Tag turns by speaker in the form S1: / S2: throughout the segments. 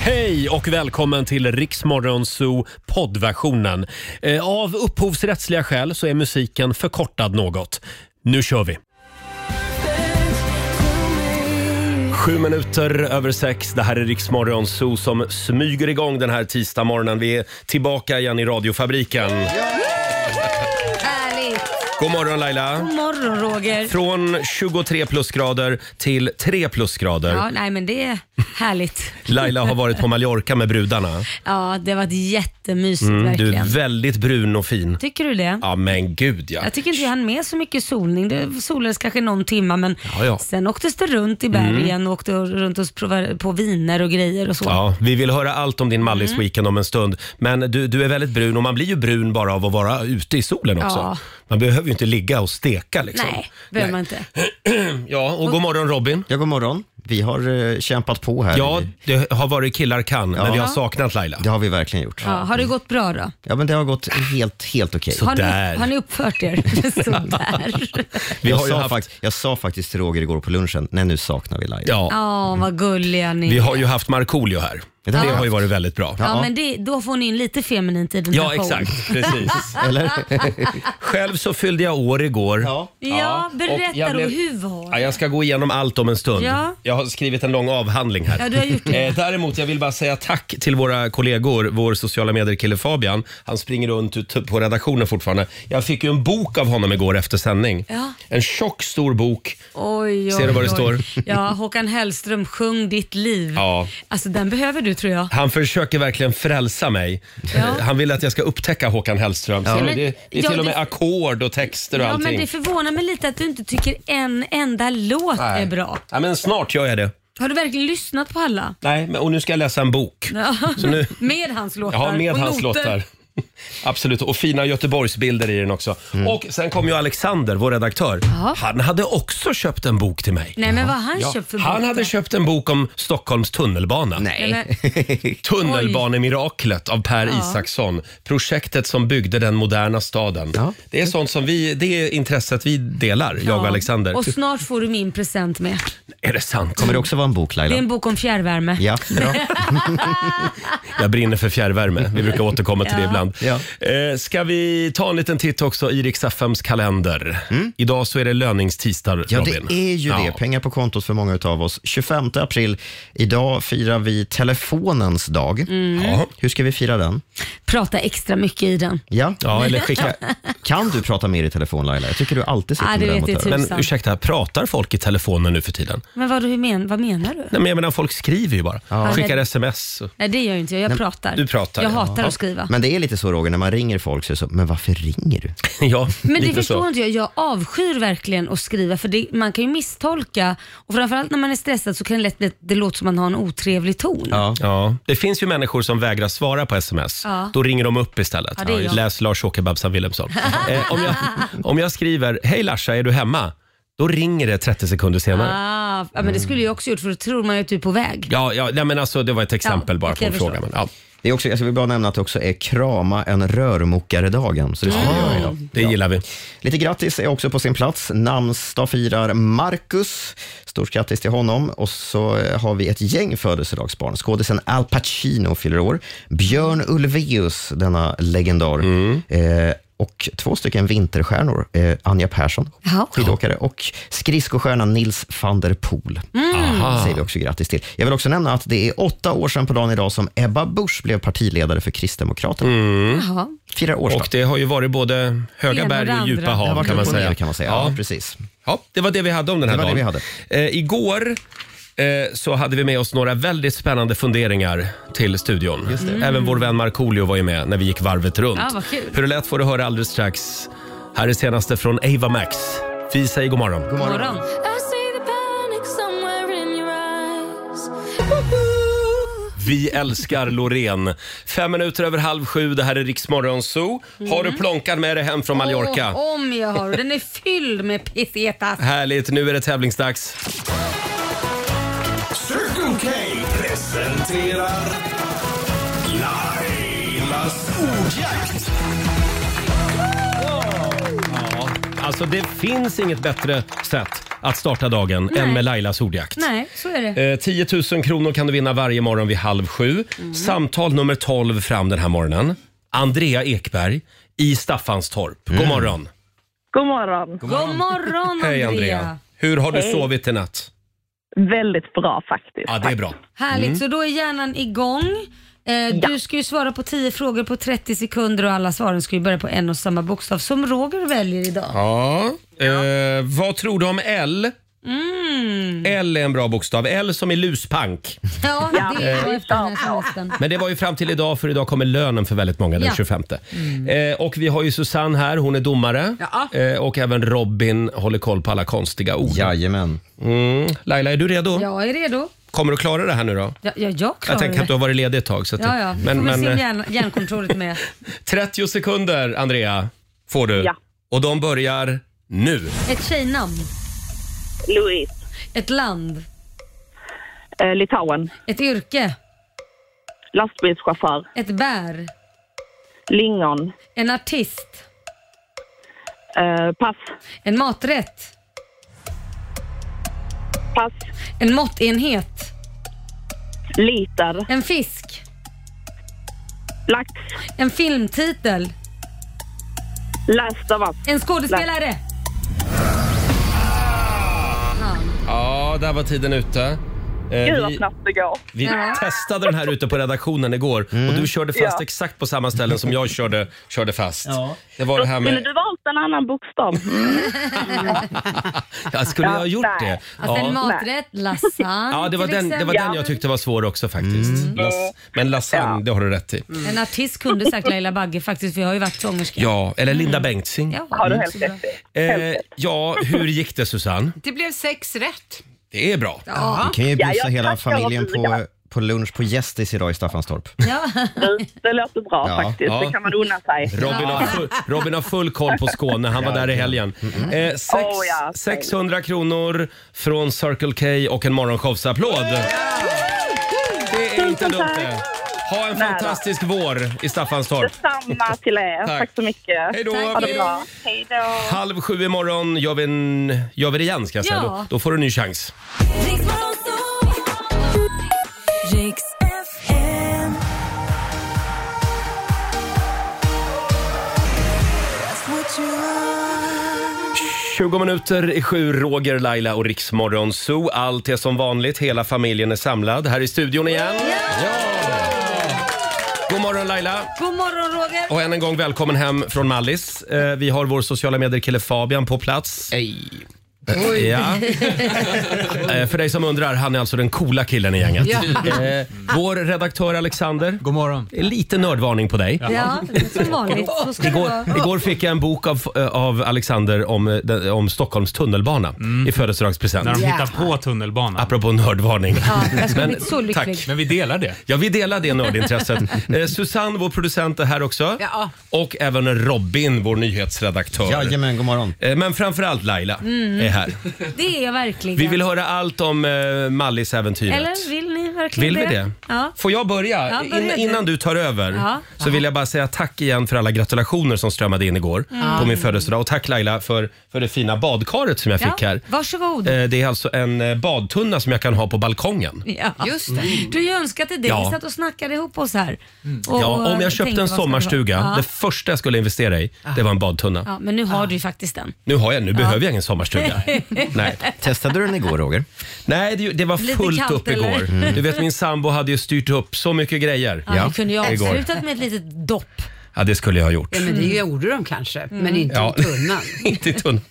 S1: Hej och välkommen till Riksmorgonzoo poddversionen. Eh, Av upphovsrättsliga skäl så är musiken förkortad något. Nu kör vi! Sju minuter över sex. Det här är Riksmorgonzoo som smyger igång den här tisdagsmorgonen. Vi är tillbaka igen i radiofabriken.
S2: Härligt!
S1: God morgon Laila!
S2: God morgon Roger.
S1: Från 23 plusgrader till 3 plusgrader.
S2: Ja, nej men det är härligt.
S1: Laila har varit på Mallorca med brudarna.
S2: Ja, det har varit jättemysigt
S1: Mm, du
S2: verkligen.
S1: är väldigt brun och fin.
S2: Tycker du det?
S1: Ja men gud ja.
S2: Jag tycker inte jag hann med så mycket solning. Det solades kanske någon timma men
S1: Ja, ja. Mm.
S2: sen åktes det runt i bergen och åkte runt och provade på viner och grejer och så.
S1: Ja, vi vill höra allt om din Mallis weekend om en stund. Men du, du är väldigt brun och man blir ju brun bara av att vara ute i solen också.
S2: Ja.
S1: Man behöver ju inte ligga och steka liksom.
S2: Nej, behöver man inte.
S1: Ja, och god morgon Robin.
S3: Ja, god morgon. Vi har eh, kämpat på här.
S1: Ja,
S3: I-
S1: det har varit killar kan, men
S3: Ja.
S1: vi har saknat Laila.
S3: Det har vi verkligen gjort.
S2: Ja, har det gått bra då?
S3: Ja, men det har gått helt, helt okej.
S1: Så-
S2: Har ni,
S1: Sådär.
S2: har ni uppfört er? Sådär.
S1: Vi
S3: Jag,
S1: har ju
S3: sa
S1: haft-
S3: fakt- jag sa faktiskt till Roger igår på lunchen, nej nu saknar vi Laila.
S1: Ja,
S2: Ja, vad gulliga ni
S1: vi har
S2: är.
S1: ju haft Markoolio här.
S3: Ja.
S1: Det har ju varit väldigt bra.
S2: Ja,
S3: Ja.
S2: men det, då får ni in lite feminint i den
S1: Ja,
S2: här showen.
S1: exakt. Precis. Själv så fyllde jag år igår.
S3: Ja.
S2: Ja,
S1: och
S2: berätta
S1: jag
S2: då.
S1: blev-
S2: Hur var
S1: Ja, jag ska gå igenom allt om en stund.
S2: Ja.
S1: Jag har skrivit en lång avhandling här.
S2: Ja, du har gjort det.
S1: Eh, däremot, jag vill bara säga tack till våra kollegor, vår sociala medier-kille Fabian. Han springer runt ute på redaktionen fortfarande. Jag fick ju en bok av honom igår efter sändning.
S2: Ja.
S1: En tjock, stor bok.
S2: Oj, oj,
S1: Ser du vad det
S2: oj.
S1: står?
S2: Ja, Håkan Hellström, sjung ditt liv.
S1: Ja.
S2: Alltså den behöver du tror jag.
S1: Han försöker verkligen frälsa mig.
S2: Ja.
S1: Eh, Han vill att jag ska upptäcka Håkan Hellström. Ser du?
S2: men-
S1: det, det är
S2: ja,
S1: till och
S2: det-
S1: med ackord och texter och
S2: Ja, men
S1: allting.
S2: det förvånar mig lite att du inte tycker en enda låt är bra.
S1: Ja, men snart gör jag det.
S2: Har du verkligen lyssnat på alla?
S1: Nej, men, och nu ska jag läsa en bok.
S2: Ja.
S1: Så nu,
S2: Med hans låtar
S1: Ja, med
S2: och
S1: hans
S2: noter.
S1: lottar. Absolut, och fina Göteborgsbilder i den också. Och sen kom ju Alexander, vår redaktör.
S2: Ja.
S1: Han hade också köpt en bok till mig.
S2: Nej, men vad har han köpt för
S1: Han
S2: bok
S1: hade
S2: då?
S1: köpt en bok om Stockholms tunnelbana.
S3: Nej.
S1: Tunnelbanemiraklet av Per Isaksson. Projektet som byggde den moderna staden.
S3: Ja.
S1: Det är sånt som vi, det är intresset vi delar, jag och
S2: Ja.
S1: Alexander.
S2: Och snart får du min present med.
S1: Är det sant?
S3: Kommer det också vara en bok Laila?
S2: Det är en bok om fjärrvärme.
S3: Ja.
S1: Jag brinner för fjärrvärme. Vi brukar återkomma till det
S2: Ja.
S1: ibland.
S3: Ja.
S1: Eh, ska vi ta en liten titt också i Rix FMs kalender? Idag så är det löningstisdag,
S3: Mm. ja,
S1: Robin.
S3: det Mm. är ju
S1: Ja.
S3: det. Pengar på kontot för många utav oss. 25 april, idag firar vi telefonens dag.
S2: Mm.
S1: Ja.
S3: Hur ska vi fira den?
S2: Prata extra mycket i den.
S3: Ja.
S1: ja, eller skicka...
S3: Kan du prata mer i telefon Laila? Jag tycker du alltid sitter
S2: Ja, det
S3: med den
S2: vet
S3: mot
S2: jag
S3: örat.
S1: Men
S2: Tusan.
S1: ursäkta, pratar folk i telefonen nu för tiden?
S2: Men vad, hur men, vad menar du?
S1: Nej, men jag menar, folk skriver ju bara. Skickar sms. och-
S2: Nej, det gör inte jag. Jag pratar.
S1: du pratar,
S2: Jag
S1: ja.
S2: hatar att skriva.
S3: Men det är lite så Roger, när man ringer folk så är det så, men varför ringer du?
S1: Ja,
S2: Men det
S1: lite
S2: förstår
S1: så.
S2: inte jag. Jag avskyr verkligen att skriva för det, man kan ju misstolka och framförallt när man är stressad så kan det lätt bli- det låta som att man har en otrevlig ton.
S3: Ja.
S1: Ja. Det finns ju människor som vägrar svara på sms.
S2: Ja.
S1: Då ringer de upp istället.
S2: Ja, det är jag.
S1: Läs Lars-Åke Babsan Wilhelmsson. eh, om, jag, om jag skriver “Hej Larsa, är du hemma?” Då ringer det 30 sekunder senare.
S2: Ah, ja, men det skulle jag också gjort för då tror man ju att du är på väg.
S1: Ja, ja nej, men alltså, det var ett exempel
S2: Ja,
S1: bara på
S2: okej,
S1: en
S2: jag
S1: fråga. Men,
S2: förstår.
S1: ja.
S3: Det är också, jag vill bara nämna att det också är krama en rörmokare-dagen. Så det ska vi göra idag.
S1: Det gillar vi.
S3: Lite grattis är också på sin plats. Namnsdag firar Marcus. Stort grattis till honom. Och så eh, har vi ett gäng födelsedagsbarn. Skådisen Al Pacino fyller år. Björn Ulvaeus, denna legendar.
S1: Mm.
S3: Eh, och två stycken vinterstjärnor. Eh, Anja Persson,
S2: Jaha.
S3: skidåkare, och skridskostjärnan Nils van der Poel.
S1: Aha.
S3: säger vi också grattis till. Jag vill också nämna att det är åtta år sedan på dagen idag som Ebba Busch blev partiledare för Kristdemokraterna.
S2: Jaha.
S3: Firar årsdag.
S1: Mm. Och det har ju varit både höga
S2: Det ena och
S1: berg
S2: det
S1: och djupa
S2: andra.
S3: Det har
S1: hav
S3: varit
S1: kan man
S3: upp och ner,
S1: säga.
S3: kan man säga. Ja,
S1: Ja.
S3: precis.
S1: Ja, det var det vi hade om den här
S3: Det var
S1: dagen.
S3: det
S1: Eh, igår eh, så hade vi med oss några väldigt spännande funderingar till studion. Även vår vän Markoolio var ju med när vi gick varvet runt.
S2: Ja, vad kul.
S1: Hur det lät får du höra alldeles strax. Här är senaste från Ava Max. Vi säger god morgon.
S2: God morgon.
S1: Vi älskar Loreen. Fem minuter över halv sju, det här är Riksmorgon Zoo. Har du plånkan med dig hem från Mallorca?
S2: Mm. Åh, om jag har. Den är fylld med pesetas.
S1: Härligt, nu är det tävlingsdags.
S4: Circle K presenterar Lailas ordjakt.
S1: Alltså det finns inget bättre sätt att starta dagen
S2: Nej.
S1: än med Lailas ordjakt.
S2: Nej, så är det.
S1: Eh, 10 000 kronor kan du vinna varje morgon vid halv sju.
S2: Mm.
S1: Samtal nummer 12 fram den här morgonen. Andrea Ekberg i Staffanstorp. God morgon.
S5: God morgon.
S2: God morgon
S1: Hej
S2: Andrea.
S1: Andrea. Hur har du sovit i natt?
S5: Väldigt bra faktiskt.
S1: Ja, det är bra.
S2: Härligt,
S1: Mm.
S2: så då är hjärnan igång. Eh, Du ska ju svara på 10 frågor på 30 sekunder och alla svaren ska ju börja på en och samma bokstav som Roger väljer idag.
S1: Ja. Eh, vad tror du om L?
S2: Mm.
S1: L är en bra bokstav. L som i luspank.
S2: Ja, det är jag efter den här semestern.
S1: Men det var ju fram till idag, för idag kommer lönen för väldigt många den
S2: Ja. Mm.
S1: 25. Eh, och vi har ju Susanne här, hon är domare.
S6: Ja.
S1: Eh, och även Robin håller koll på alla konstiga ord.
S3: Jajamän.
S1: Mm. Laila, är du redo?
S2: Jag är redo.
S1: Kommer du klara det här nu då?
S2: Ja, ja, jag
S1: Jag
S2: klarar
S1: tänker att du
S2: det.
S1: har varit ledig ett tag. Så att
S2: Ja, ja.
S1: Men, men
S2: se om
S1: eh,
S2: hjärn, hjärnkontoret med.
S1: 30 sekunder, Andrea, får du.
S5: Ja.
S1: Och de börjar nu.
S2: Ett tjejnamn,
S5: Louise.
S2: ett land,
S5: Eh, Litauen.
S2: ett yrke,
S5: Lastbilschaufför.
S2: ett bär,
S5: Lingon.
S2: en artist,
S5: Eh, pass.
S2: en maträtt,
S5: Pass.
S2: en måttenhet,
S5: Liter.
S2: en fisk,
S5: Lax.
S2: en filmtitel,
S5: Last of us.
S2: en skådespelare.
S1: Ja, där var tiden ute. Eh,
S5: Gud vad
S1: vi-
S5: snabbt det går.
S1: Vi
S2: Ja.
S1: testade den här ute på redaktionen igår och du körde fast exakt på samma ställen som jag körde, körde fast. Det var det här
S5: Skulle
S1: med...
S5: du valt en annan bokstav?
S1: Ja, skulle jag ha gjort det?
S2: Alltså en
S1: Ja.
S2: maträtt, lasagne
S1: Ja, det var,
S2: till
S1: den, det
S2: exempel.
S1: var den jag tyckte var svår också faktiskt. Las, men lasagne, det har du rätt i.
S2: Mm. En artist kunde sagt Laila Bagge faktiskt för jag har ju varit sångerska.
S1: Ja, eller Linda Bengtzing.
S2: Ja,
S5: Har du
S2: så
S5: helt
S2: bra.
S5: rätt i.
S1: Eh, ja, hur gick det Susanne?
S6: Det blev sex rätt.
S1: Det är bra.
S3: Vi kan ju
S5: Ja,
S3: bjussa
S5: jag
S3: hela
S5: tackar och
S3: familjen på,
S5: bugar.
S3: på lunch på Gästis idag i Staffanstorp.
S2: Ja.
S5: Du, Det låter bra
S3: Ja,
S5: faktiskt.
S1: ja.
S5: Det kan man unna sig.
S1: Robin har, full, Robin har full koll på Skåne. Han var där i helgen. Eh, sex,
S5: Oh, ja.
S1: 600 kronor från Circle K och en morgonshowsapplåd. Det är inte
S5: Tusen
S1: dumt
S5: tack.
S1: det. Ha en
S5: Nära.
S1: fantastisk vår i Staffanstorp.
S5: Detsamma till er.
S1: Tack.
S5: Tack. så mycket.
S1: Hej då.
S5: Ha det bra. Hej då.
S1: Halv sju imorgon gör vi, en, gör vi det igen ska jag säga.
S2: Ja.
S1: Då, då får du en ny chans.
S7: Riks FM. That's what you are.
S1: 20 minuter i sju, Roger, Laila och Riksmorgon Zoo. Allt är som vanligt, hela familjen är samlad här i studion igen. Ja. God morgon Laila!
S2: God morgon Roger!
S1: Och än en gång välkommen hem från Mallis. Eh, vi har vår sociala medier-kille Fabian på plats. Hej! Ja. Eh, För dig som undrar, han är alltså den coola killen i gänget. Eh, Vår redaktör Alexander,
S8: God morgon.
S1: det är lite nördvarning på dig.
S2: Ja, som vanligt. Så ska det
S1: Igår,
S2: vara.
S1: igår fick jag en bok av, eh, av Alexander om, eh, den- om Stockholms tunnelbana i födelsedagspresent.
S8: Mm. När de hittar på tunnelbanan.
S1: Apropå nördvarning.
S2: Ja, jag skulle
S1: Men-
S2: bli så lycklig.
S1: tack.
S8: Men vi delar det.
S1: Ja, vi delar det nördintresset. Eh, Susanne, vår producent, är här också.
S6: Ja.
S1: Och även Robin, vår nyhetsredaktör.
S3: Jajamän, god morgon.
S1: Eh, Men framförallt Laila
S2: Mm.
S1: är här.
S2: Det är jag verkligen.
S1: Vi vill höra allt om eh, Mallis-äventyret.
S2: Eller vill ni verkligen
S1: Vill vi det?
S2: Ja.
S1: Får jag börja?
S2: Ja, börja
S1: In,
S2: du.
S1: innan du tar över
S2: Ja.
S1: så vill jag bara säga tack igen för alla gratulationer som strömmade in igår
S2: Mm.
S1: på min födelsedag. Och tack Laila för, för det fina badkaret som jag
S2: Ja,
S1: fick här.
S2: Varsågod.
S1: Eh, Det är alltså en eh, badtunna som jag kan ha på balkongen.
S2: Ja. Mm.
S6: Just det.
S2: Du har ju önskat dig det.
S1: Ja. Mm.
S2: Vi satt och snackade ihop oss här. Och,
S1: Ja, om
S2: och
S1: jag köpte
S2: tänkte,
S1: en
S2: vad ska det vara?
S1: sommarstuga, det Ah.
S2: Ja.
S1: första jag skulle investera i, det var en badtunna.
S2: ja, men nu har du ju faktiskt den.
S1: Nu har jag, nu behöver jag ingen sommarstuga. Nej.
S3: Testade du den igår, Roger?
S1: Nej, det, det var
S2: Lite
S1: fullt
S2: kallt,
S1: upp
S2: eller?
S1: igår. Du vet min sambo hade ju styrt upp så mycket grejer.
S2: Ja, Vi kunde ju
S1: Igår.
S2: avslutat med ett litet dopp.
S1: Ja, det skulle jag ha gjort.
S6: Ja, men det gjorde de kanske, men inte
S1: Ja.
S6: i tunnan.
S1: Inte i tunnan.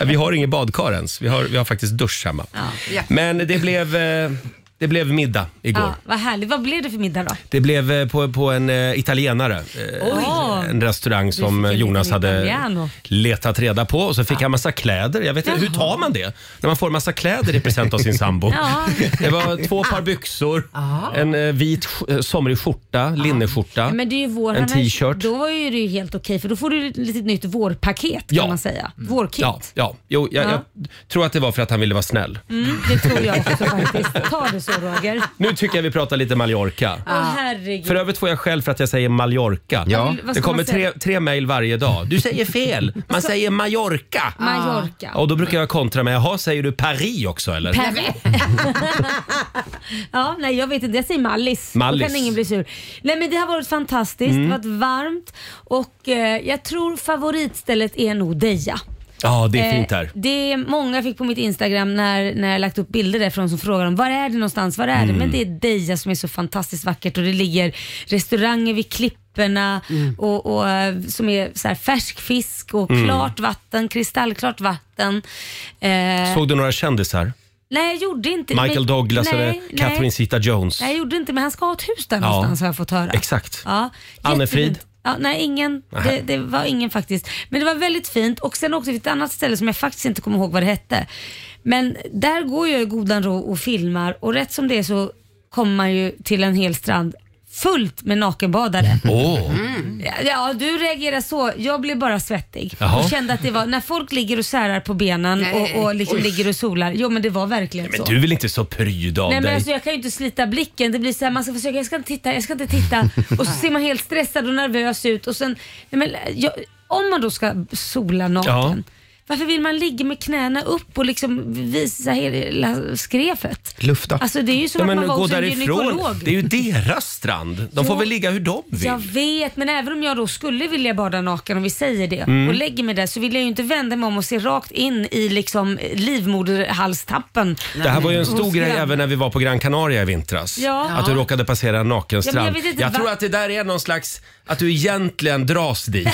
S1: Ja, Vi har inget badkar ens. Vi har, vi har faktiskt dusch hemma.
S6: Ja.
S1: Men det blev, eh, det blev middag igår.
S2: Ja, vad härligt. Vad blev det för middag då?
S1: Det blev eh, på, på en eh, italienare. eh,
S2: Oj.
S1: En restaurang som
S2: fick
S1: eh,
S2: en
S1: Jonas
S2: liten
S1: hade
S2: italiano.
S1: letat reda på och så fick han massa kläder. Jag vet inte, hur tar man det? När man får massa kläder i present av sin sambo.
S2: Ja.
S1: Det var två par byxor, en eh, vit sk- eh, somrig skjorta, linneskjorta,
S2: Men det är ju vår,
S1: en t-shirt.
S2: Då var ju det ju helt okej för då får du ett litet nytt vårpaket kan
S1: Ja.
S2: man säga. Vårkit.
S1: Ja, ja. Jo, jag,
S2: Mm. Ja.
S1: jag tror att det var för att han ville vara snäll.
S2: Mm, det tror jag också faktiskt. Ta det så Roger?
S1: Nu tycker jag vi pratar lite Mallorca.
S2: Åh herregud.
S1: För övrigt får jag skäll för att jag säger Mallorca.
S3: Ja.
S2: Vad
S1: Det
S2: ska
S1: kommer
S2: man säga?
S1: tre, tre mejl varje dag. Du säger fel. Man säger Mallorca.
S2: Mallorca.
S1: Och då brukar jag kontra med, jaha säger du Paris också eller?
S2: Perre. ja, nej jag vet inte. Jag säger Mallis. Mm.
S1: Mallis.
S2: Då kan ingen bli sur. Nej men det har varit fantastiskt. Det har varit varmt och eh, jag tror favoritstället är nog Deja.
S1: Ja, det är fint
S2: Eh,
S1: där.
S2: Det är många fick på mitt Instagram när, när jag lagt upp bilder därifrån som frågar om var är det någonstans, var är det?
S1: Mm.
S2: Men det är Deja som är så fantastiskt vackert och det ligger restauranger vid klipporna
S1: Mm.
S2: och, och, eh, som är så här färsk fisk och klart vatten, kristallklart vatten. Eh,
S1: Såg du några kändisar?
S2: nej, jag gjorde inte
S1: Michael
S2: men-
S1: Douglas
S2: nej,
S1: eller
S2: nej.
S1: Catherine Zeta-Jones?
S2: Nej, jag gjorde inte, men han ska ha ett hus där någonstans har jag fått höra.
S1: Exakt.
S2: Ja,
S1: Anne
S2: jättefint.
S1: Frid?
S2: Ja, nej, ingen. Det, det var ingen faktiskt. Men det var väldigt fint. Och sen åkte vi till ett annat ställe som jag faktiskt inte kommer ihåg vad det hette. Men där går jag i godan ro och filmar och rätt som det är så kommer man ju till en hel strand fullt med nakenbadare.
S1: Åh,
S2: Ja, Ja, du reagerar så. Jag blev bara svettig.
S1: Jaha.
S2: Och kände att det var, när folk ligger och särar på benen
S6: Nej.
S2: och, och liksom ligger och solar. Jo men det var verkligen
S1: men
S2: så.
S1: du är väl inte så pryd av
S2: Nej men
S1: dig?
S2: alltså jag kan ju inte slita blicken. Det blir så här, man ska försöka, jag ska inte titta, jag ska inte titta. Och så ser man helt stressad och nervös ut. Och sen, nej men, jag, om man då ska sola naken, varför vill man ligga med knäna upp och liksom visa hela skrevet?
S3: Lufta.
S2: Alltså det är ju som
S1: Ja,
S2: att
S1: men
S2: man var
S1: gå
S2: hos en
S1: därifrån.
S2: gynekolog.
S1: Det är ju deras strand. De får
S2: Ja.
S1: väl ligga hur de vill.
S2: Jag vet, men även om jag då skulle vilja bada naken, om vi säger det,
S1: Mm.
S2: och lägger mig där så vill jag ju inte vända mig om och se rakt in i liksom livmoderhalstappen.
S1: Det här var ju en
S2: Hos
S1: stor grej
S2: grannen.
S1: även när vi var på Gran Canaria i vintras.
S2: Ja.
S1: Att du råkade passera en naken
S2: Ja, men jag
S1: strand.
S2: vet
S1: jag
S2: inte va-
S1: tror att det där är någon slags, att du egentligen dras dit.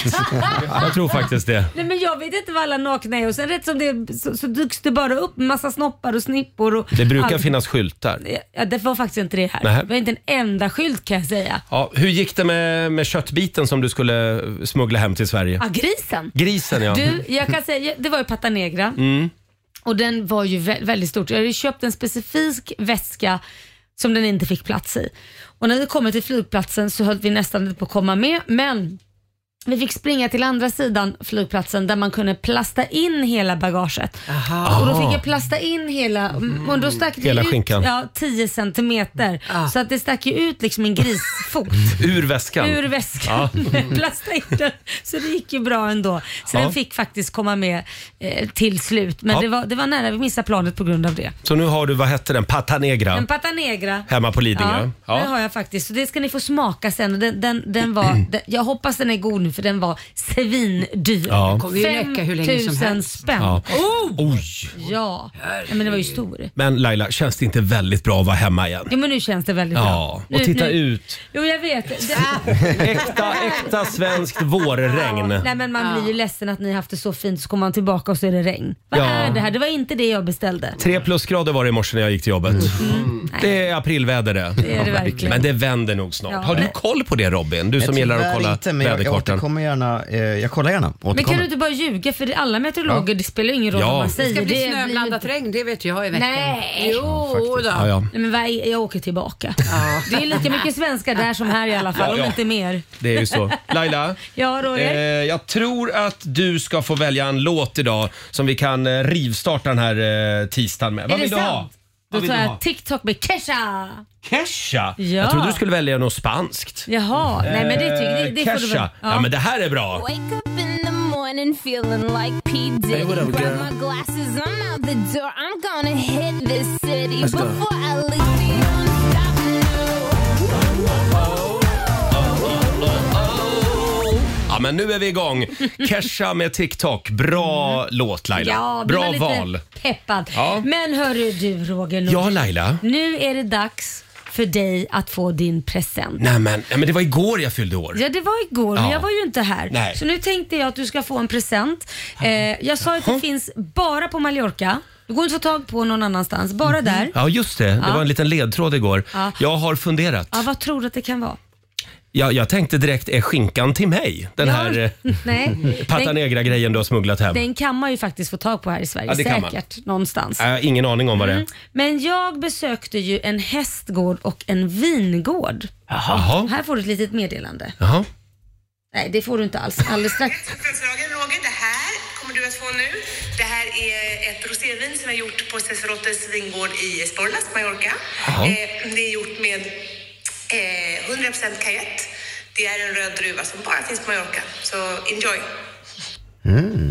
S1: jag tror faktiskt det.
S2: Nej men jag vet inte vad alla nakna är och sen rätt som det är så, så dyks det bara upp en massa snoppar och snippor och
S1: Det brukar
S2: allt.
S1: finnas skyltar.
S2: Ja, det var faktiskt inte det här.
S1: Nähä.
S2: Det var inte en enda skylt kan jag säga.
S1: Ja, hur gick det med, med köttbiten som du skulle eh, smuggla hem till Sverige?
S2: Ja, grisen.
S1: Grisen ja.
S2: Du, jag kan säga, det var ju Pata Negra.
S1: Mm.
S2: Och den var ju vä- väldigt stort. Jag hade ju köpt en specifik väska som den inte fick plats i. Och när vi kom till flygplatsen så höll vi nästan inte på att komma med, men vi fick springa till andra sidan flygplatsen där man kunde plasta in hela bagaget. Och då fick jag plasta in hela, och då stack det
S1: Hela
S2: ut
S1: skinkan.
S2: Ja, 10 centimeter. Så att det stack ju ut liksom en grisfot
S1: Ur väskan.
S2: ur väskan. Plasta in den. Så det gick ju bra ändå. Så
S1: Ja.
S2: den fick faktiskt komma med eh, till slut. Men
S1: Ja.
S2: det, var, det var nära, vi missade planet på grund av det.
S1: Så nu har du, vad hette den, Pata Negra
S2: En pata negra.
S1: hemma på Lidingö.
S2: Ja,
S1: Ja.
S2: det har jag faktiskt. Så det ska ni få smaka sen. Och Den, den, den var, den, jag hoppas den är god nu för den var svindyr.
S1: Ja.
S6: kommer ju läcka hur länge som
S2: 5000
S6: helst.
S2: spänn.
S1: Ja.
S2: Ja.
S1: Oj!
S2: Nej, men det var ju stor.
S1: Men Laila, känns det inte väldigt bra att vara hemma igen?
S2: Jo men nu känns det väldigt
S1: Ja,
S2: bra.
S1: och
S2: Nu-
S1: titta
S2: nu,
S1: ut.
S2: Jo jag vet. Det,
S1: Äkta, äkta svenskt vårregn.
S2: Nej men man blir ju ledsen att ni har haft det så fint så kommer man tillbaka och så är det regn. Vad
S1: Ja.
S2: är det här? Det var inte det jag beställde.
S1: Tre plusgrader var det i morse när jag gick till jobbet.
S3: Mm.
S1: Mm. Det är aprilvädare det.
S2: Det är det verkligen.
S1: Men det vänder nog snart.
S2: Ja.
S1: Har du koll på det Robin? Du som gillar att
S3: Tyvärr
S1: kolla
S3: inte, men jag, jag
S1: väderkartan.
S3: återkommer gärna. Eh, jag kollar gärna. Återkommer.
S2: Men kan du inte bara ljuga för alla meteorologer, det spelar ju ingen roll
S1: Ja.
S2: vad man
S1: Det
S2: säger.
S6: Det ska bli
S2: ju
S6: snöblandat
S2: inte-
S6: regn, det vet jag i veckan.
S2: Nej.
S6: Jo då.
S1: ja, ja.
S2: Nej, men vad är- jag åker tillbaka. Det är lika mycket svenskar där som här i alla fall,
S1: Ja, ja.
S2: om inte mer.
S1: Det är ju så. Laila, Eh,
S2: Ja, Roger?
S1: jag tror att du ska få välja en låt idag som vi kan eh, rivstarta den här eh, tisdagen med. Vad
S2: är
S1: vill
S2: det
S1: du ha?
S2: sant? Då
S1: Vad vill
S2: tar
S1: du
S2: jag
S1: ha?
S2: TikTok med Kesha.
S1: Kesha?
S2: Ja.
S1: Jag trodde du skulle välja något spanskt.
S2: Jaha, nej men det tycker det,
S1: Eh,
S2: det får du väl.
S1: Kesha. Ja. men det här är bra.
S8: Wake up in the morning feeling like P. Diddy. Grab my glasses, I'm out the door. I'm gonna hit this city before I leave. they gonna stop me.
S1: Ja, men nu är vi igång. Kesha med TikTok. Bra låt Laila.
S2: Mm. Ja, du
S1: bra
S2: var lite
S1: val.
S2: peppad.
S1: Ja.
S2: Men hörru du Roger Nordin.
S1: Ja Laila.
S2: Nu är det dags för dig att få din present.
S1: Nej men, nej, men det var igår jag fyllde år.
S2: Ja, det var igår, men
S1: Ja.
S2: jag var ju inte här.
S1: Nej.
S2: Så nu tänkte jag att du ska få en present. Eh, jag sa att det finns bara på Mallorca. Du går inte att få tag på någon annanstans,
S1: Mm-hmm.
S2: bara där.
S1: Ja just det, det var en liten ledtråd igår.
S2: Ja.
S1: Jag har funderat.
S2: Ja, vad tror du att det kan vara?
S1: Jag, jag tänkte direkt, är skinkan till mig? Den
S2: Ja.
S1: här eh,
S2: Nej,
S1: Pata
S2: den,
S1: Negra-grejen du har smugglat hem.
S2: den kan man ju faktiskt få tag på här i Sverige.
S1: Ja, det kan man.
S2: Säkert någonstans.
S1: Äh, ingen aning om vad det
S2: Mm.
S1: är.
S2: Men jag besökte ju en hästgård och en vingård.
S1: Jaha.
S2: Här får du ett litet meddelande.
S1: Jaha.
S2: Nej, det får du inte alls. Alldeles strax.
S9: Födelsedagen Roger, det här kommer kommer du att få nu. Det här är ett rosévin som är gjort på Cesarotes vingård i Esporlas, Mallorca.
S10: Jaha.
S9: Eh, det är gjort med eh, 100% cayette. Det är en röd druva som bara finns på Mallorca. Så enjoy!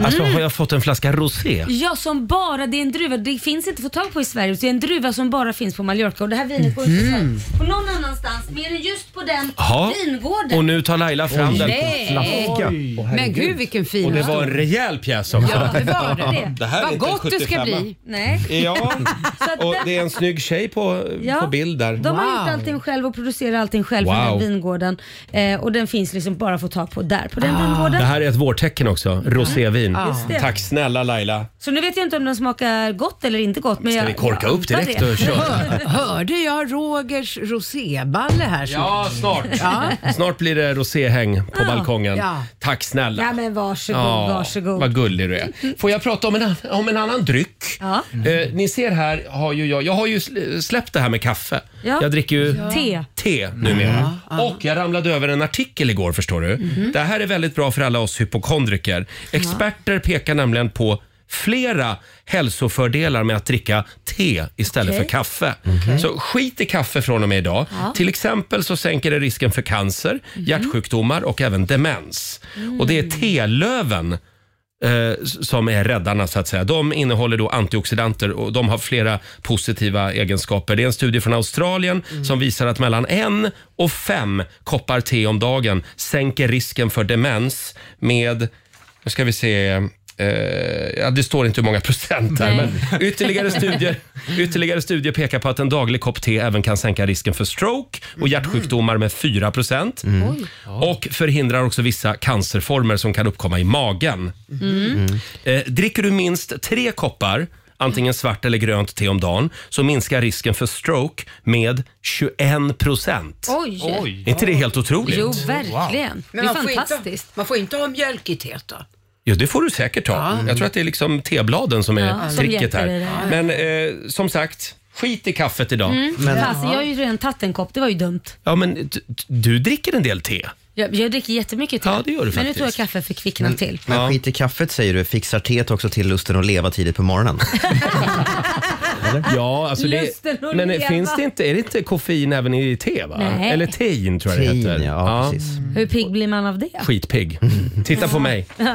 S1: Alltså har jag fått en flaska rosé?
S2: Mm. Ja, som bara, det är en druva, det finns inte att få tag på i Sverige. Det är en druva som bara finns på Mallorca och det här vinet går inte
S1: Mhm.
S2: att få på någon annanstans mer än just på den
S1: Jaha.
S2: vingården.
S1: Och nu tar Laila fram
S2: Oj.
S1: den
S2: Nej. Oj.
S1: Åh, herregud.
S6: Men gud vilken fin.
S1: Och det var en rejäl pjäs också.
S6: Ja, det var det.
S1: Det här är
S6: Vad
S1: inte en
S6: gott det ska
S1: 75.
S6: bli.
S2: Nej.
S1: Ja,
S2: Så att
S1: och
S2: där-
S1: det är en snygg tjej på,
S2: Ja,
S1: på bild där.
S2: De har gjort allting själv och producerar allting själv på
S1: Wow.
S2: den här vingården. Eh, och den finns liksom bara att få tag på där, på
S1: Ah.
S2: den vingården.
S1: Det här är ett vårtecken också, rosévin.
S2: Ja. Just det.
S1: Tack snälla Laila.
S2: Så nu vet jag inte om den smakar gott eller inte gott. Men
S1: Ska
S2: jag,
S1: vi korka
S2: jag
S1: upp
S2: antar
S1: direkt
S2: det.
S1: och köra?
S6: Hör, hörde jag Rogers roséballe här
S1: Ja, snart.
S6: Ja.
S1: Snart blir det roséhäng på
S6: Ja.
S1: balkongen.
S6: Ja.
S1: Tack snälla.
S2: Ja men varsågod,
S1: Ja,
S2: varsågod.
S1: Vad gullig du är. Får jag prata om en, an- om en annan dryck?
S2: Ja.
S1: Eh, ni ser här, har ju jag, jag har ju sl- släppt det här med kaffe.
S2: Ja.
S1: Jag dricker ju
S2: Ja. Te.
S1: te numera. Och jag ramlade över en artikel igår förstår du.
S11: Mhm.
S1: Det här är väldigt bra för alla oss hypokondriker. Experter pekar nämligen på flera hälsofördelar med att dricka te istället
S11: Okej.
S1: för kaffe. Så skit i kaffe från och med idag.
S11: Ja. Mhm.
S1: Till exempel så sänker det risken för cancer, hjärtsjukdomar och även demens.
S11: Mm.
S1: Och det är telöven eh, s- som är räddarna så att säga. De innehåller då antioxidanter och de har flera positiva egenskaper. Det är en studie från Australien som visar att mellan en och fem koppar te om dagen sänker risken för demens med, nu ska vi se, eh, ja, det står inte hur många procent här,
S11: Nej.
S1: men ytterligare studier, ytterligare studier pekar på att en daglig kopp te även kan sänka risken för stroke och hjärtsjukdomar med 4 procent.
S11: Oj.
S1: Och förhindrar också vissa cancerformer som kan uppkomma i magen.
S11: Mm.
S1: Eh, dricker du minst tre koppar antingen svart eller grönt te om dagen så minskar risken för stroke med 21 procent.
S2: Oj.
S1: Är inte det helt otroligt?
S2: Jo, verkligen. Det
S6: Men
S2: är
S6: man får, inte,
S2: fantastiskt.
S6: man får inte ha mjölk i teet då?
S1: Jo, det får du säkert ta. Jag tror att det är liksom tebladen som är
S2: Mm. Ja, som
S1: tricket
S2: hjälper dig
S1: här.
S2: där.
S1: Men eh, som sagt, skit i kaffet idag.
S2: Mm. Fast, jag har ju redan tagit en kopp, det var ju dumt.
S1: Ja, men d- d- du dricker en del te.
S2: Jag, jag dricker jättemycket te.
S1: Ja, det gör
S2: Men nu
S1: du faktiskt. Mm.
S2: tror jag kaffe förkvicknar
S3: Men,
S2: till.
S3: men skit i kaffet säger du, fixar teet också till lusten att leva tidigt på morgonen?
S1: Ja, alltså det,
S2: Lusten att
S1: men
S2: leva.
S1: finns det inte, är det inte koffein även i te? Va?
S2: Nej.
S1: Eller tein tror jag
S3: Tein,
S1: det heter.
S3: ja, Mm.
S2: Hur pigg blir man av det?
S1: Skitpigg. Titta på mig.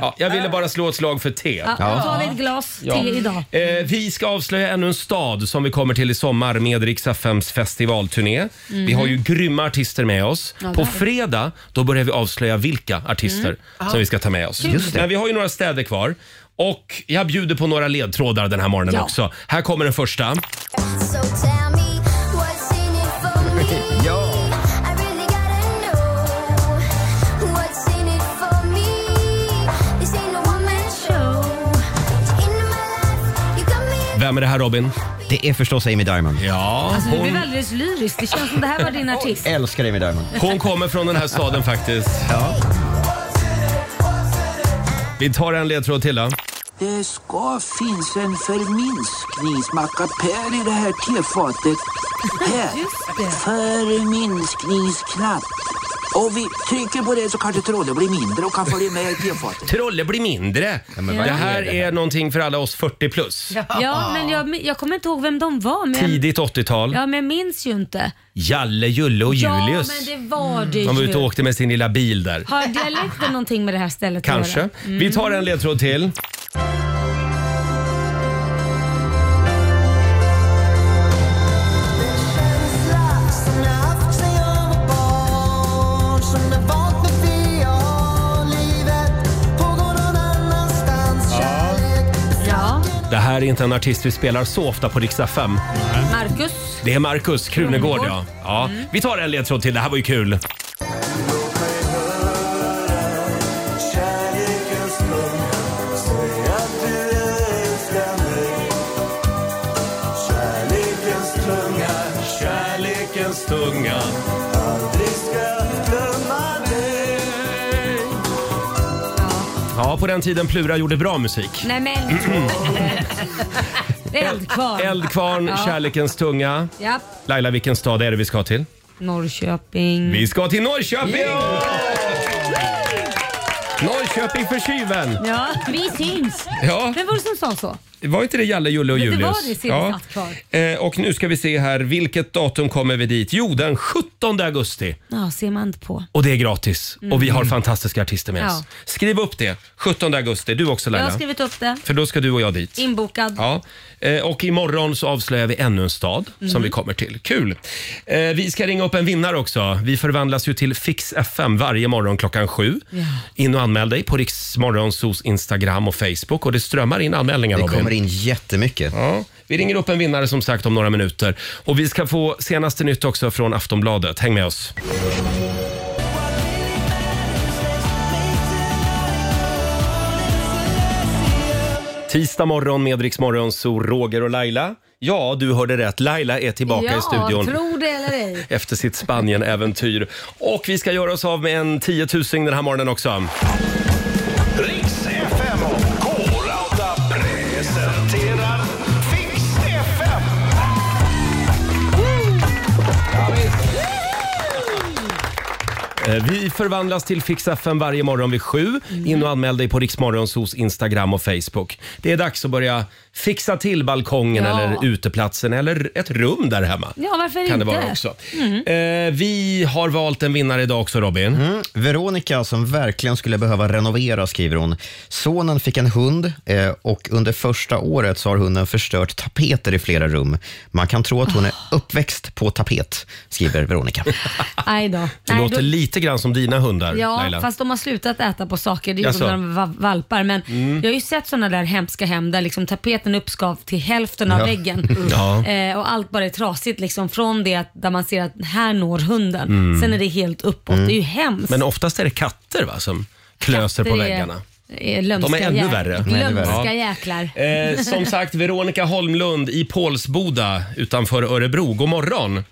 S1: Ja, jag ville bara slå ett slag för te.
S2: Ja, då tar vi ett glas
S1: Ja.
S2: te idag.
S1: Eh, vi ska avslöja ännu en stad som vi kommer till i sommar med Rix FMs festivalturné.
S11: Mhm.
S1: Vi har ju grymma artister med oss.
S11: Ja,
S1: På
S11: det har vi.
S1: fredag då börjar vi avslöja vilka artister
S11: Mm. Ja.
S1: som vi ska ta med oss.
S11: Kul. Just det.
S1: Men vi har ju några städer kvar. Och jag bjuder på några ledtrådar den här morgonen
S11: Ja.
S1: också. Här kommer den första.
S7: So tell me what's in it for me. I really gotta know what's in it for me. This ain't no one man show. In my life, you got me.
S1: Vem är det här Robin?
S3: Det är förstås Amy Diamond.
S1: Ja,
S2: Alltså, du blev alldeles lyrisk. Det känns som det här var din artist.
S3: Älskar Amy Diamond.
S1: Hon kommer från den här staden faktiskt. Vi tar en ledtråd till då.
S12: Det ska finnas en förminskningsmackapär i det här tefatet. Här. Förminskningsknapp. Och vi trycker på det så kanske trollet blir mindre och kan följa med i tefatet.
S1: Trolle blir mindre.
S2: men vad
S1: det
S2: är
S1: här
S2: det
S1: är, någonting för alla oss 40 plus.
S2: Ja, men jag, jag kommer inte ihåg vem de var. Men jag,
S1: Tidigt 80-tal.
S2: ja, men jag minns ju inte.
S1: Jalle, Julle och Julius.
S2: Ja, men det
S1: Mm.
S2: var det
S1: De var
S2: ju.
S1: ute och åkte med sin lilla bil där.
S2: Har dialekten någonting med det här stället
S1: Kanske.
S2: att göra? Mm.
S1: Vi tar en ledtråd till.
S2: Ja,
S1: Det här är inte en artist vi spelar så ofta på Rix FM.
S2: Marcus.
S1: Det är Markus Krunegård, ja. ja.
S2: Mm.
S1: Vi tar en ledtråd till. Det här var ju kul. Kärlekens tunga Ja, på den tiden Plura gjorde bra musik.
S2: Nej men... Eldkvarn.
S1: Eldkvarn,
S2: Ja.
S1: Kärlekens tunga.
S2: Japp.
S1: Laila, vilken stad är det vi ska till?
S2: Norrköping.
S1: Vi ska till Norrköping! Norrköping! Linköping för tjuven!
S2: Ja, vi syns.
S1: Ja.
S2: Vem var det som sa så?
S1: Var inte det Jalle, Julle och
S2: Men det
S1: Julius?
S2: var det, ser vi snabbt kvar.
S1: Eh, Och nu ska vi se här, vilket datum kommer vi dit? Jo, den 17 augusti.
S2: Ja, ser man inte på.
S1: Och det är gratis.
S2: Mm.
S1: Och vi har fantastiska artister med oss.
S2: Ja.
S1: Skriv upp det. 17 augusti. Du också
S2: Jag har
S1: Laila.
S2: skrivit upp det.
S1: För då ska du och jag dit.
S2: Inbokad.
S1: Ja. Eh, Och imorgon så avslöjar vi ännu en stad som
S2: Mm.
S1: vi kommer till. Kul! Eh, Vi ska ringa upp en vinnare också. Vi förvandlas ju till Fix FM varje morgon klockan sju.
S2: Ja.
S1: In och anmäl dig på Riksmorgonsos Instagram och Facebook. Och det strömmar in anmälningar
S3: Det kommer
S1: in jättemycket. Ja. Vi ringer upp en vinnare som sagt om några minuter. Och vi ska få senaste nytt också från Aftonbladet. Häng med oss. Tisdag morgon med Rix Morgon, så Roger och Laila. Ja, du hörde rätt. Laila är tillbaka
S2: ja,
S1: i studion
S2: tro det eller ej.
S1: efter sitt Spanien-äventyr. Och vi ska göra oss av med en tiotusing den här morgonen också.
S4: Riks FM och K-Rauta presenterar Fix FM.
S1: Eh, Vi förvandlas till Fix FM varje morgon vid sju. In och anmäl dig på Riksmorgonsos Instagram och Facebook. Det är dags att börja fixa till balkongen
S2: Ja.
S1: eller uteplatsen eller ett rum där hemma.
S2: Ja, varför
S1: Kan
S2: inte?
S1: det vara också.
S2: Mm.
S1: Eh, vi har valt en vinnare idag också Robin.
S3: Mm, Veronica som verkligen skulle behöva renovera skriver hon. Sonen fick en hund eh, och under första året så har hunden förstört tapeter i flera rum. Man kan tro att hon är
S1: Ah.
S3: uppväxt på tapet, skriver Veronica.
S2: Aj då.
S3: Det
S2: Nej,
S3: låter
S2: då-
S1: Lite grann som dina hundar
S2: Ja,
S1: Laila.
S2: fast de har slutat äta på saker. Det gjorde
S1: Jaså?
S2: de när de var valpar. Men
S1: Mm.
S2: jag har ju sett sådana där hemska hem där liksom tapeten uppskav till hälften av
S1: Ja.
S2: väggen.
S1: Ja.
S2: Eh, och allt bara är trasigt liksom från det att, där man ser att här når hunden.
S1: Mm.
S2: Sen är det helt uppåt.
S1: Mm.
S2: Det är ju hemskt.
S1: Men oftast är det katter va, som klöser
S2: Det
S1: på
S2: är-
S1: väggarna.
S2: är lömska
S1: De är ännu
S2: jäk-
S1: värre.
S2: Lömska
S1: Ja.
S2: jäklar.
S1: Eh, som sagt, Veronica Holmlund i Pålsboda utanför Örebro. God morgon!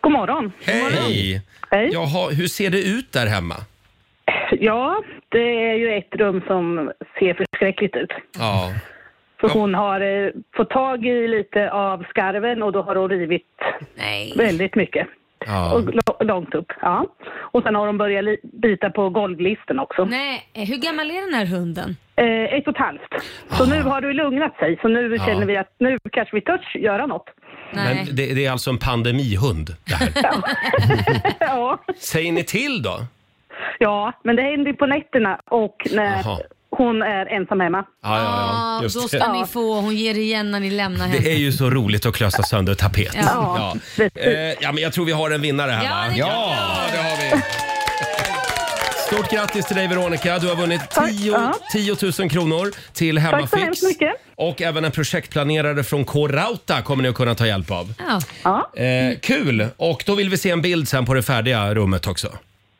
S5: God morgon.
S1: Hej!
S5: Hej.
S1: Jaha, hur ser det ut där hemma?
S5: Ja, det är ju ett rum som ser förskräckligt ut.
S1: Ja.
S5: För hon har eh, fått tag i lite av skarven och då har hon rivit väldigt mycket.
S1: ja.
S5: Och lo- långt upp, ja. Och sen har de börjat li- bita på golvlisten också.
S2: Nej, Eh, hur gammal är den här hunden?
S5: Eh, ett och ett halvt. Så nu har du lugnat sig. Så nu
S1: Ah. Ja.
S5: känner vi att nu kanske vi törs göra något.
S1: Men det, det är alltså en pandemihund det här.
S5: ja.
S1: Säger ni till då?
S5: ja, men det händer ju på nätterna och när
S1: Jaha.
S5: hon är ensam hemma.
S1: Ja, ja, ja.
S2: Ah, då
S1: Just
S2: ska
S1: det.
S2: ni få, hon ger igen när ni lämnar henne.
S1: Det är ju så roligt att klösa sönder tapet.
S2: Ja.
S1: Eh, ja, men jag tror vi har en vinnare här va? Ja, det har vi. Stort grattis till dig Veronica. Du har vunnit 10, 10 000 kronor till Hemmafix.
S5: Tack så hemskt mycket.
S1: Och även en projektplanerare från K-Rauta kommer ni att kunna ta hjälp av.
S2: Ja.
S5: Mm.
S1: Eh, kul! Och då vill vi se en bild sen på det färdiga rummet också.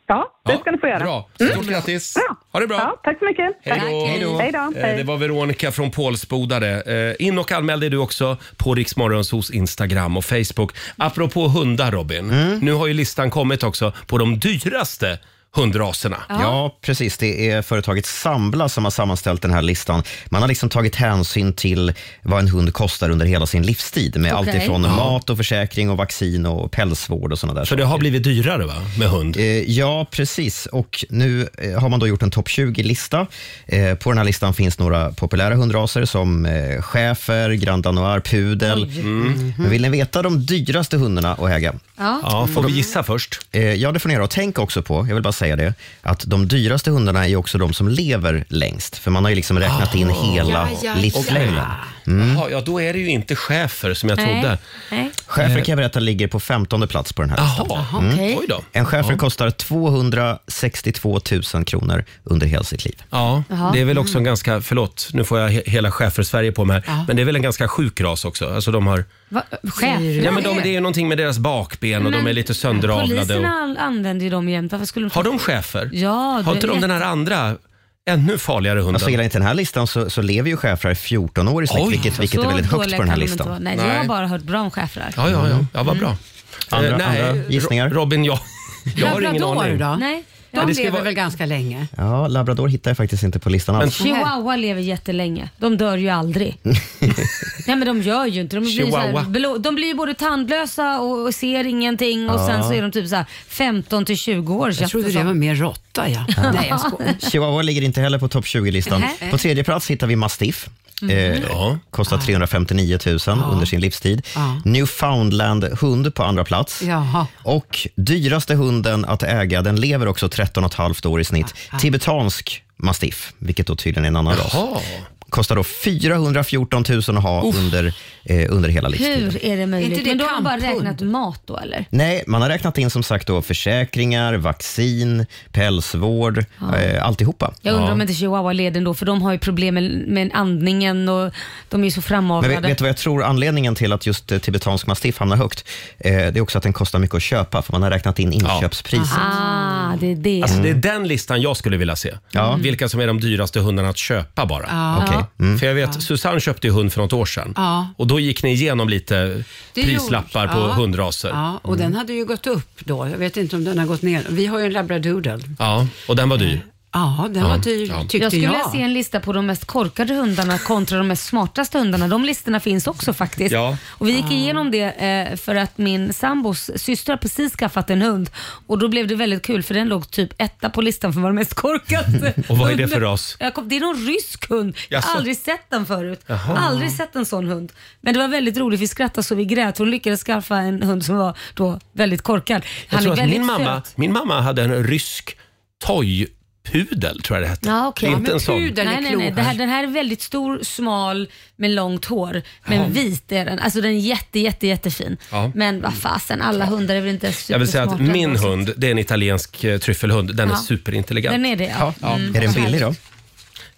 S5: Ja, det ska ni få göra.
S1: Bra. Stort grattis.
S5: Ha
S1: det bra.
S5: Ja, tack så mycket.
S1: Hej då.
S5: Hej då.
S1: Eh, Det var Veronica från Pålsboda det. Eh, In och anmäl dig du också på Riksmorgonsos Instagram och Facebook. Apropå hundar Robin, nu har ju listan kommit också på de dyraste hundraserna.
S3: Ja. precis. Det är företaget Sambla som har sammanställt den här listan. Man har liksom tagit hänsyn till vad en hund kostar under hela sin livstid med
S1: Okej.
S3: allt ifrån
S1: Ja.
S3: mat och försäkring och vaccin och pälsvård och sådana där
S1: För det har blivit dyrare va, med hund?
S3: Eh, Ja, precis. Och nu eh, har man då gjort en topp 20-lista. Eh, På den här listan finns några populära hundraser som eh, schäfer, grand danois, pudel. Mm.
S2: Oj.
S3: Men vill ni veta de dyraste hundarna att äga? Eh,
S2: Ja. Ja, får vi
S1: gissa först?
S3: Ja, det får ni göra. Och tänk också på, jag vill bara säga det, att de dyraste hundarna är ju också de som lever längst. För man har ju liksom räknat in
S1: Ah.
S3: hela
S1: Ja, Eh. ja, ja.
S3: livslängden.
S1: Jaha, ja då är det ju inte schäfer som jag trodde.
S2: Nej.
S3: Schäfer kan jag berätta ligger på 15 plats på den här listan.
S1: Jaha, okej. Oj då.
S3: En schäfer
S1: Ah. Ja.
S3: kostar 262 000 kronor under hela sitt liv.
S1: Ja,
S2: Jaha.
S1: det är väl också en ganska, förlåt, nu får jag he- hela Schäfer-Sverige på mig här,
S2: Ja.
S1: men det är väl en ganska sjuk ras också. Alltså de har,
S2: Va, chef?
S1: ja, men de, det är ju någonting med deras bakben och
S2: Men
S1: de är lite sönderavlade. Och,
S2: Poliserna all- använder ju dem jämt. Varför skulle de...
S1: har de schäfer?
S2: Ja,
S1: Har inte de den här andra, ännu farligare hunden?
S3: Alltså, gäller inte den här listan så, så lever ju schäfrar i 14 år i snitt,
S1: Oj.
S3: vilket, vilket är
S2: Så
S3: väldigt högt
S2: dåliga
S3: på den här
S2: kan de inte vara.
S3: listan.
S2: Nej, jag har bara hört bra om schäfrar.
S1: Ja, ja, ja. ja vad bra.
S3: Andra- andra
S1: gissningar? Robin, jag, jag har ingen
S6: Labrador
S1: aning.
S6: då?
S2: Nej.
S6: De
S3: det ska
S6: lever
S3: vara-
S6: väl ganska länge?
S3: Ja, labrador hittar jag faktiskt inte på listan alls.
S2: Chihuahua lever jättelänge. De dör ju aldrig. Nej men de gör ju inte De blir, så här,
S1: Chihuahua.
S2: blå, de blir ju både tandlösa och, och ser ingenting och
S3: Ja.
S2: sen så är de typ så här 15 till 20 år. Jag trodde det var mer råtta ja. Nej jag skojar.
S3: Chihuahua ligger inte heller på topp 20-listan.
S2: Nej.
S3: På tredje plats hittar vi mastiff.
S2: Mhm.
S3: Eh, Kostar 359 000 under sin livstid.
S6: Ja.
S3: Newfoundland-hund på andra plats.
S6: Jaha.
S3: Och dyraste hunden att äga, den lever också 13,5 år i snitt. Tibetansk mastiff, vilket då tydligen är en annan ras. Kostar då 414 000 att ha
S2: Uff.
S3: under, eh, under hela livstiden.
S2: Hur är det möjligt?
S6: Inte det
S2: men då har de bara
S6: kamphund?
S2: räknat mat då eller?
S3: Nej, man har räknat in som sagt då försäkringar, vaccin, pälsvård, eh, alltihopa.
S2: Jag undrar
S3: Ja.
S2: om inte chihuahua leder då för de har ju problem med, med andningen och de är ju så
S3: Men
S2: framavlade.
S3: vet, vet du vad jag tror anledningen till att just eh, tibetansk mastiff hamnar högt? Eh, det är också att den kostar mycket att köpa, för man har räknat in inköpspriset.
S2: Ah, det är det.
S1: Alltså, det är den listan jag skulle vilja se. Vilka som är de dyraste hundarna att köpa bara.
S2: Ja. Okej.
S1: För jag vet, Susanne köpte ju hund för något år sedan.
S6: Ja.
S1: Och då gick ni igenom lite
S6: Det
S1: prislappar
S6: gjorde-
S1: på
S6: ja.
S1: hundraser.
S6: Ja, och
S1: Mm.
S6: den hade ju gått upp då. Jag vet inte om den har gått ner. Vi har ju en labradoodle.
S1: Ja, och den var dyr.
S6: Ja, den var dyr tyckte
S2: jag
S6: jag.
S2: skulle vilja se en lista på de mest korkade hundarna kontra de mest smartaste hundarna. De listorna finns också faktiskt.
S1: Ja.
S2: Och vi gick igenom det eh, för att min sambos syster har precis skaffat en hund och då blev det väldigt kul för den låg typ etta på listan för vad den mest korkade.
S1: Och vad är det för
S2: hunden.
S1: ras?
S2: Jag kom, det är någon rysk hund. Jag har
S1: Jaså?
S2: aldrig sett den förut.
S1: Jaha.
S2: Aldrig sett en sån hund. Men det var väldigt roligt. Vi skrattade så vi grät. Hon lyckades skaffa en hund som var då väldigt korkad.
S1: Jag
S2: Han
S1: tror
S2: är
S1: att
S2: väldigt
S1: min mamma,
S2: söt.
S1: min mamma hade en rysk toypudel, tror jag det hette.
S2: Ja, okej.
S1: Inte en sån.
S2: Nej, nej, nej. Det här, den här är väldigt stor, smal med långt hår. Men
S1: Ja.
S2: vit är den. Alltså den är jätte, jätte, jättefin.
S1: Ja.
S2: Men vad fasen, alla hundar är väl inte supersmarta.
S1: Jag vill säga att min hund, det är en italiensk eh, tryffelhund. Den
S2: Ja.
S1: är superintelligent.
S2: Den är det, ja. Ja. Mm.
S3: Är den billig då?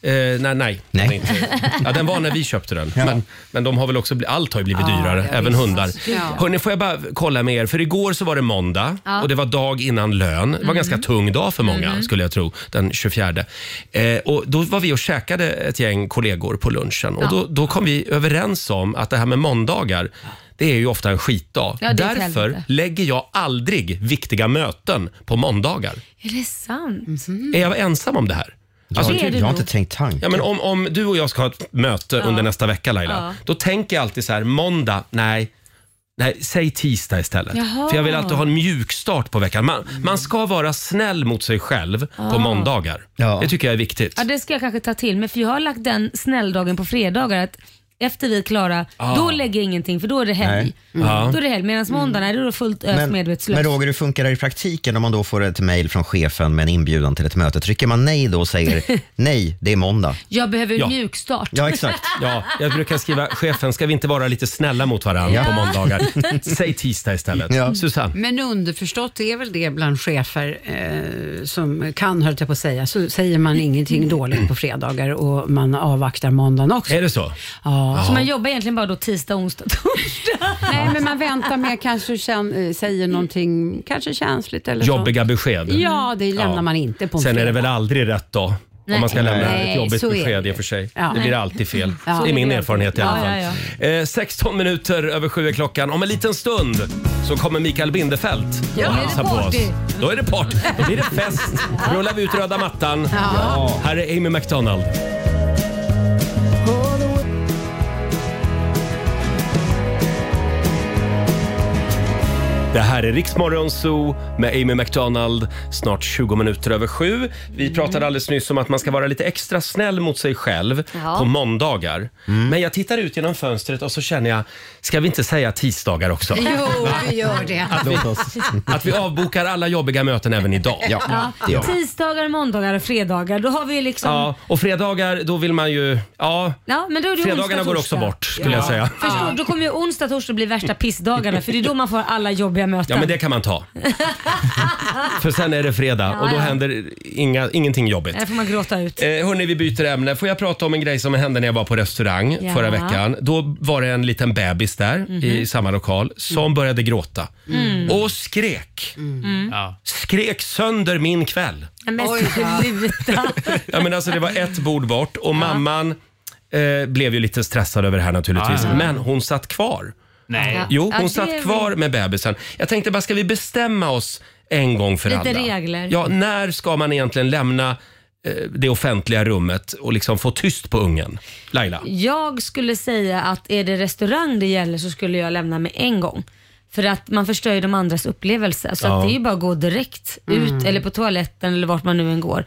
S1: Eh, nej, nej. Den, är inte. Ja, den var när vi köpte den. Men, men de har väl också, bli- allt har ju blivit
S4: Ja,
S1: dyrare,
S4: ja,
S1: även
S4: visst.
S1: hundar.
S4: Ja.
S1: Hörni, får jag bara kolla med er? För igår så var det måndag
S4: Ja.
S1: och det var dag innan lön. Det var
S4: Mm.
S1: ganska tung dag för många,
S4: Mm.
S1: skulle jag tro, den 24. Eh, och då var vi och käkade ett gäng kollegor på lunchen och
S4: Ja.
S1: då, då kom vi överens om att det här med måndagar det är ju ofta en skitdag.
S2: Ja, det är ett
S1: Därför
S2: helvete.
S1: lägger jag aldrig viktiga möten på måndagar.
S2: Är det sant?
S4: Mm.
S1: Är jag ensam om det här?
S2: Ja, det är du nog.
S3: tänkt tanken.
S1: Ja, men om, om du och jag ska ha ett möte
S2: Ja.
S1: under nästa vecka Laila,
S2: Ja.
S1: då tänker jag alltid så här, måndag, nej. Nej, säg tisdag istället.
S4: Jaha.
S1: För jag vill alltid ha en mjuk start på veckan. Man,
S2: Mm.
S1: man ska vara snäll mot sig själv
S2: Ja.
S1: på måndagar. Det tycker jag är viktigt.
S2: Ah. Ja, det ska jag kanske ta till mig. För jag har lagt den snälldagen på fredagar. Att efter vi är klara,
S3: Ah.
S2: då lägger jag ingenting för då är det helg.
S1: Mm.
S3: Nej. Ja.
S2: Då är det helg. Medan måndagen är det då fullt ös
S3: Men,
S2: medvetslös.
S3: men Roger, hur funkar det i praktiken om man då får ett mejl från chefen med en inbjudan till ett möte? Trycker man nej då och säger nej, det är måndag?
S2: Jag behöver
S1: Ja.
S2: mjukstart.
S1: Ja, jag brukar skriva, chefen ska vi inte vara lite snälla mot varandra
S6: Ja.
S1: på måndagar? Säg tisdag istället.
S6: Ja.
S1: Susanne?
S2: Mm.
S6: Men underförstått är väl det bland chefer eh, som kan, höll jag på att säga, så säger man ingenting dåligt på fredagar och man avvaktar måndagen också.
S1: Är det så?
S6: Ja.
S2: Så man jobbar egentligen bara då tisdag, onsdag, torsdag.
S6: Nej, men man väntar med kanske kän, eh, säger någonting, kanske känsligt eller så.
S1: Jobbiga besked.
S6: Ja, det lämnar man inte på en
S1: Sen är det
S6: fredag.
S1: väl aldrig rätt då?
S6: Nej.
S1: Om man ska lämna
S6: Nej,
S1: ett jobbigt
S6: så är
S1: besked
S6: det.
S1: i och för sig.
S6: Ja.
S1: Det blir
S6: Nej.
S1: alltid fel.
S6: Ja.
S1: Det är min
S6: Ja.
S1: erfarenhet i alla
S6: Ja,
S1: fall.
S6: ja,
S1: Eh, 16 minuter över sju är klockan. Om en liten stund så kommer Mikael Bindefeld
S4: Ja,
S1: och
S4: då är det
S1: hälsar på oss.
S4: party.
S1: Då är det party. Då blir det fest. Rullar vi ut röda mattan.
S4: Ja. Ja.
S1: Här är Amy McDonald. Det här är Riksmorgon Zoo med Amy McDonald, snart 20 minuter över sju. Vi
S2: Mm.
S1: pratade alldeles nyss om att man ska vara lite extra snäll mot sig själv
S4: Ja.
S1: på måndagar. Men jag tittar ut genom fönstret och så känner jag, ska vi inte säga tisdagar också?
S6: Jo,
S1: Va?
S6: vi gör det.
S1: Att vi, att vi avbokar alla jobbiga möten även idag.
S2: Ja.
S1: det gör vi.
S2: Tisdagar, måndagar och fredagar. Då har vi ju liksom...
S1: Ja,
S2: Ja.
S1: och fredagar, då vill man ju... Ja,
S2: men då är det
S1: fredagarna
S2: onsdag,
S1: går också
S2: torsdag.
S1: bort skulle
S2: Ja.
S1: jag säga.
S2: Förstår, du? då kommer ju onsdag, torsdag bli värsta pissdagarna för det är då man får alla jobbiga möten.
S1: Ja, men det kan man ta. För sen är det fredag och då
S2: Ja, ja.
S1: händer inga, ingenting jobbigt.
S2: Där får man gråta ut.
S1: Eh, hörni, vi byter ämne. Får jag prata om en grej som hände när jag var på restaurang
S2: Ja.
S1: förra veckan? Då var det en liten bebis där i samma lokal som började gråta
S4: Mhm. Mm.
S1: och skrek. Skrek sönder min kväll.
S2: Nej, men
S4: Oj, ja.
S2: sluta.
S1: Ja, men alltså, det var ett bord bort och mamman eh, blev ju lite stressad över det här naturligtvis.
S4: Ja, ja.
S1: Men hon satt kvar.
S4: Nej.
S1: Eh, Jo,
S2: Ja, det
S1: hon
S2: är
S1: satt
S2: väl-
S1: kvar med bebisen. Jag tänkte bara, ska vi bestämma oss en gång för
S2: Lite
S1: alla?
S2: regler.
S1: Ja, när ska man egentligen lämna eh, det offentliga rummet och liksom få tyst på ungen? Laila?
S2: Jag skulle säga att är det restaurang det gäller så skulle jag lämna med en gång. För att man förstör ju de andras upplevelse. Så
S1: Ja.
S2: att det är ju bara att gå direkt ut
S1: Mm.
S2: eller på toaletten eller vart man nu än går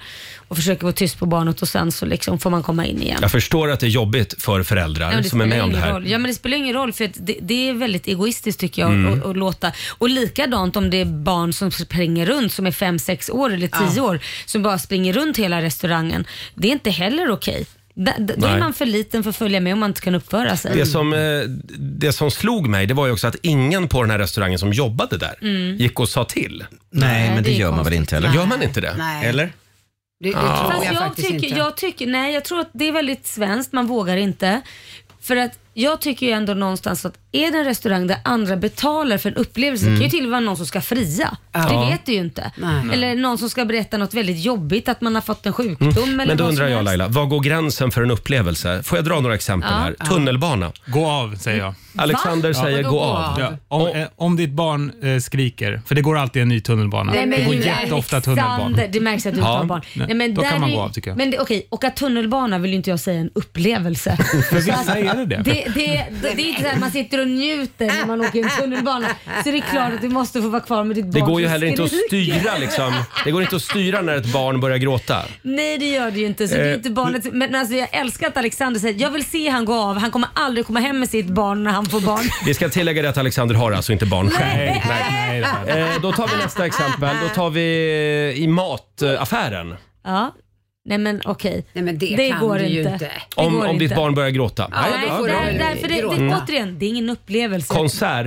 S2: och försöka vara tyst på barnet och sen så liksom får man komma in igen.
S1: Jag förstår att det är jobbigt för föräldrar
S2: Ja, men
S1: som är
S2: spelar
S1: med om det
S2: ingen
S1: här.
S2: Roll. Ja, men det spelar ingen roll för att det, det är väldigt egoistiskt tycker jag
S1: Mm.
S2: att, att låta. Och likadant om det är barn som springer runt som är fem sex år eller
S6: Ja.
S2: tio år som bara springer runt hela restaurangen. Det är inte heller okej. Da- da- Då
S1: Nej.
S2: är man för liten för att följa med om man inte kan uppföra sig.
S1: Det som, eh, det som slog mig det var ju också att ingen på den här restaurangen som jobbade där
S2: Mm.
S1: gick och sa till.
S2: Nej, men det det är gör man väl konstigt. inte, eller?
S1: Gör man inte det?
S2: Nej.
S1: Eller?
S6: Det, det
S1: Ja.
S6: tror
S2: Fast
S6: jag,
S2: jag,
S6: faktiskt
S2: tycker,
S6: inte.
S2: jag tycker, nej jag tror att det är väldigt svenskt, man vågar inte. För att jag tycker ju ändå någonstans att är det en restaurang där andra betalar för en upplevelse,
S6: Mm.
S2: det kan ju till och med vara någon som ska fria.
S6: Ja.
S2: Det
S1: Ja.
S2: vet du ju inte.
S1: Nej.
S2: Eller någon som ska berätta något väldigt jobbigt, att man har fått en sjukdom
S1: Mm.
S2: eller
S1: Men då
S2: vad
S1: undrar
S2: som
S1: jag
S2: helst.
S1: Laila, var går gränsen för en upplevelse? Får jag dra några exempel
S2: Ja.
S1: här?
S2: Ja.
S1: Tunnelbana.
S10: Gå av, säger jag.
S1: Alexander säger gå av.
S10: Ja, om, eh, om ditt barn eh, skriker, för det går alltid en ny tunnelbana.
S2: Nej, men
S10: det går
S2: nu,
S10: jätteofta
S2: Alexander,
S10: tunnelbana.
S2: Det märks att du inte
S10: Ja,
S2: har barn.
S10: nej,
S2: men
S10: då
S2: där
S10: kan man
S2: är-
S10: gå av, tycker jag.
S2: Men det, okej, åka tunnelbana vill ju inte jag säga en upplevelse.
S10: För
S2: Så
S10: vissa
S2: att-
S10: är det det.
S2: Det, det, det, är inte så här man sitter och njuter när man åker en tunnelbana. Så det är klart att du måste få vara kvar med ditt barn
S1: Det går ju
S2: som
S1: heller inte att
S2: skriker.
S1: styra liksom. Det går inte att styra när ett barn börjar gråta.
S2: Nej det gör det ju inte. Så det är
S1: Eh,
S2: inte barnet. Men alltså, jag älskar att Alexander säger jag vill se han gå av. Han kommer aldrig komma hem med sitt barn när han får barn.
S1: Vi ska tillägga det att Alexander har alltså inte barn själv.
S2: Nej,
S10: nej,
S1: Eh, då tar vi nästa exempel. Då tar vi eh, i mataffären.
S2: Ja. Nej men okej.
S6: Nej, men det, kan
S2: går
S6: du ju
S2: inte.
S6: inte.
S2: Det
S1: Om,
S2: går
S1: om ditt
S2: inte.
S1: barn börjar gråta.
S2: Nej,
S1: då-
S2: där, därför det, det,
S1: Mm.
S2: återigen, det är ingen upplevelse.
S1: Konsert.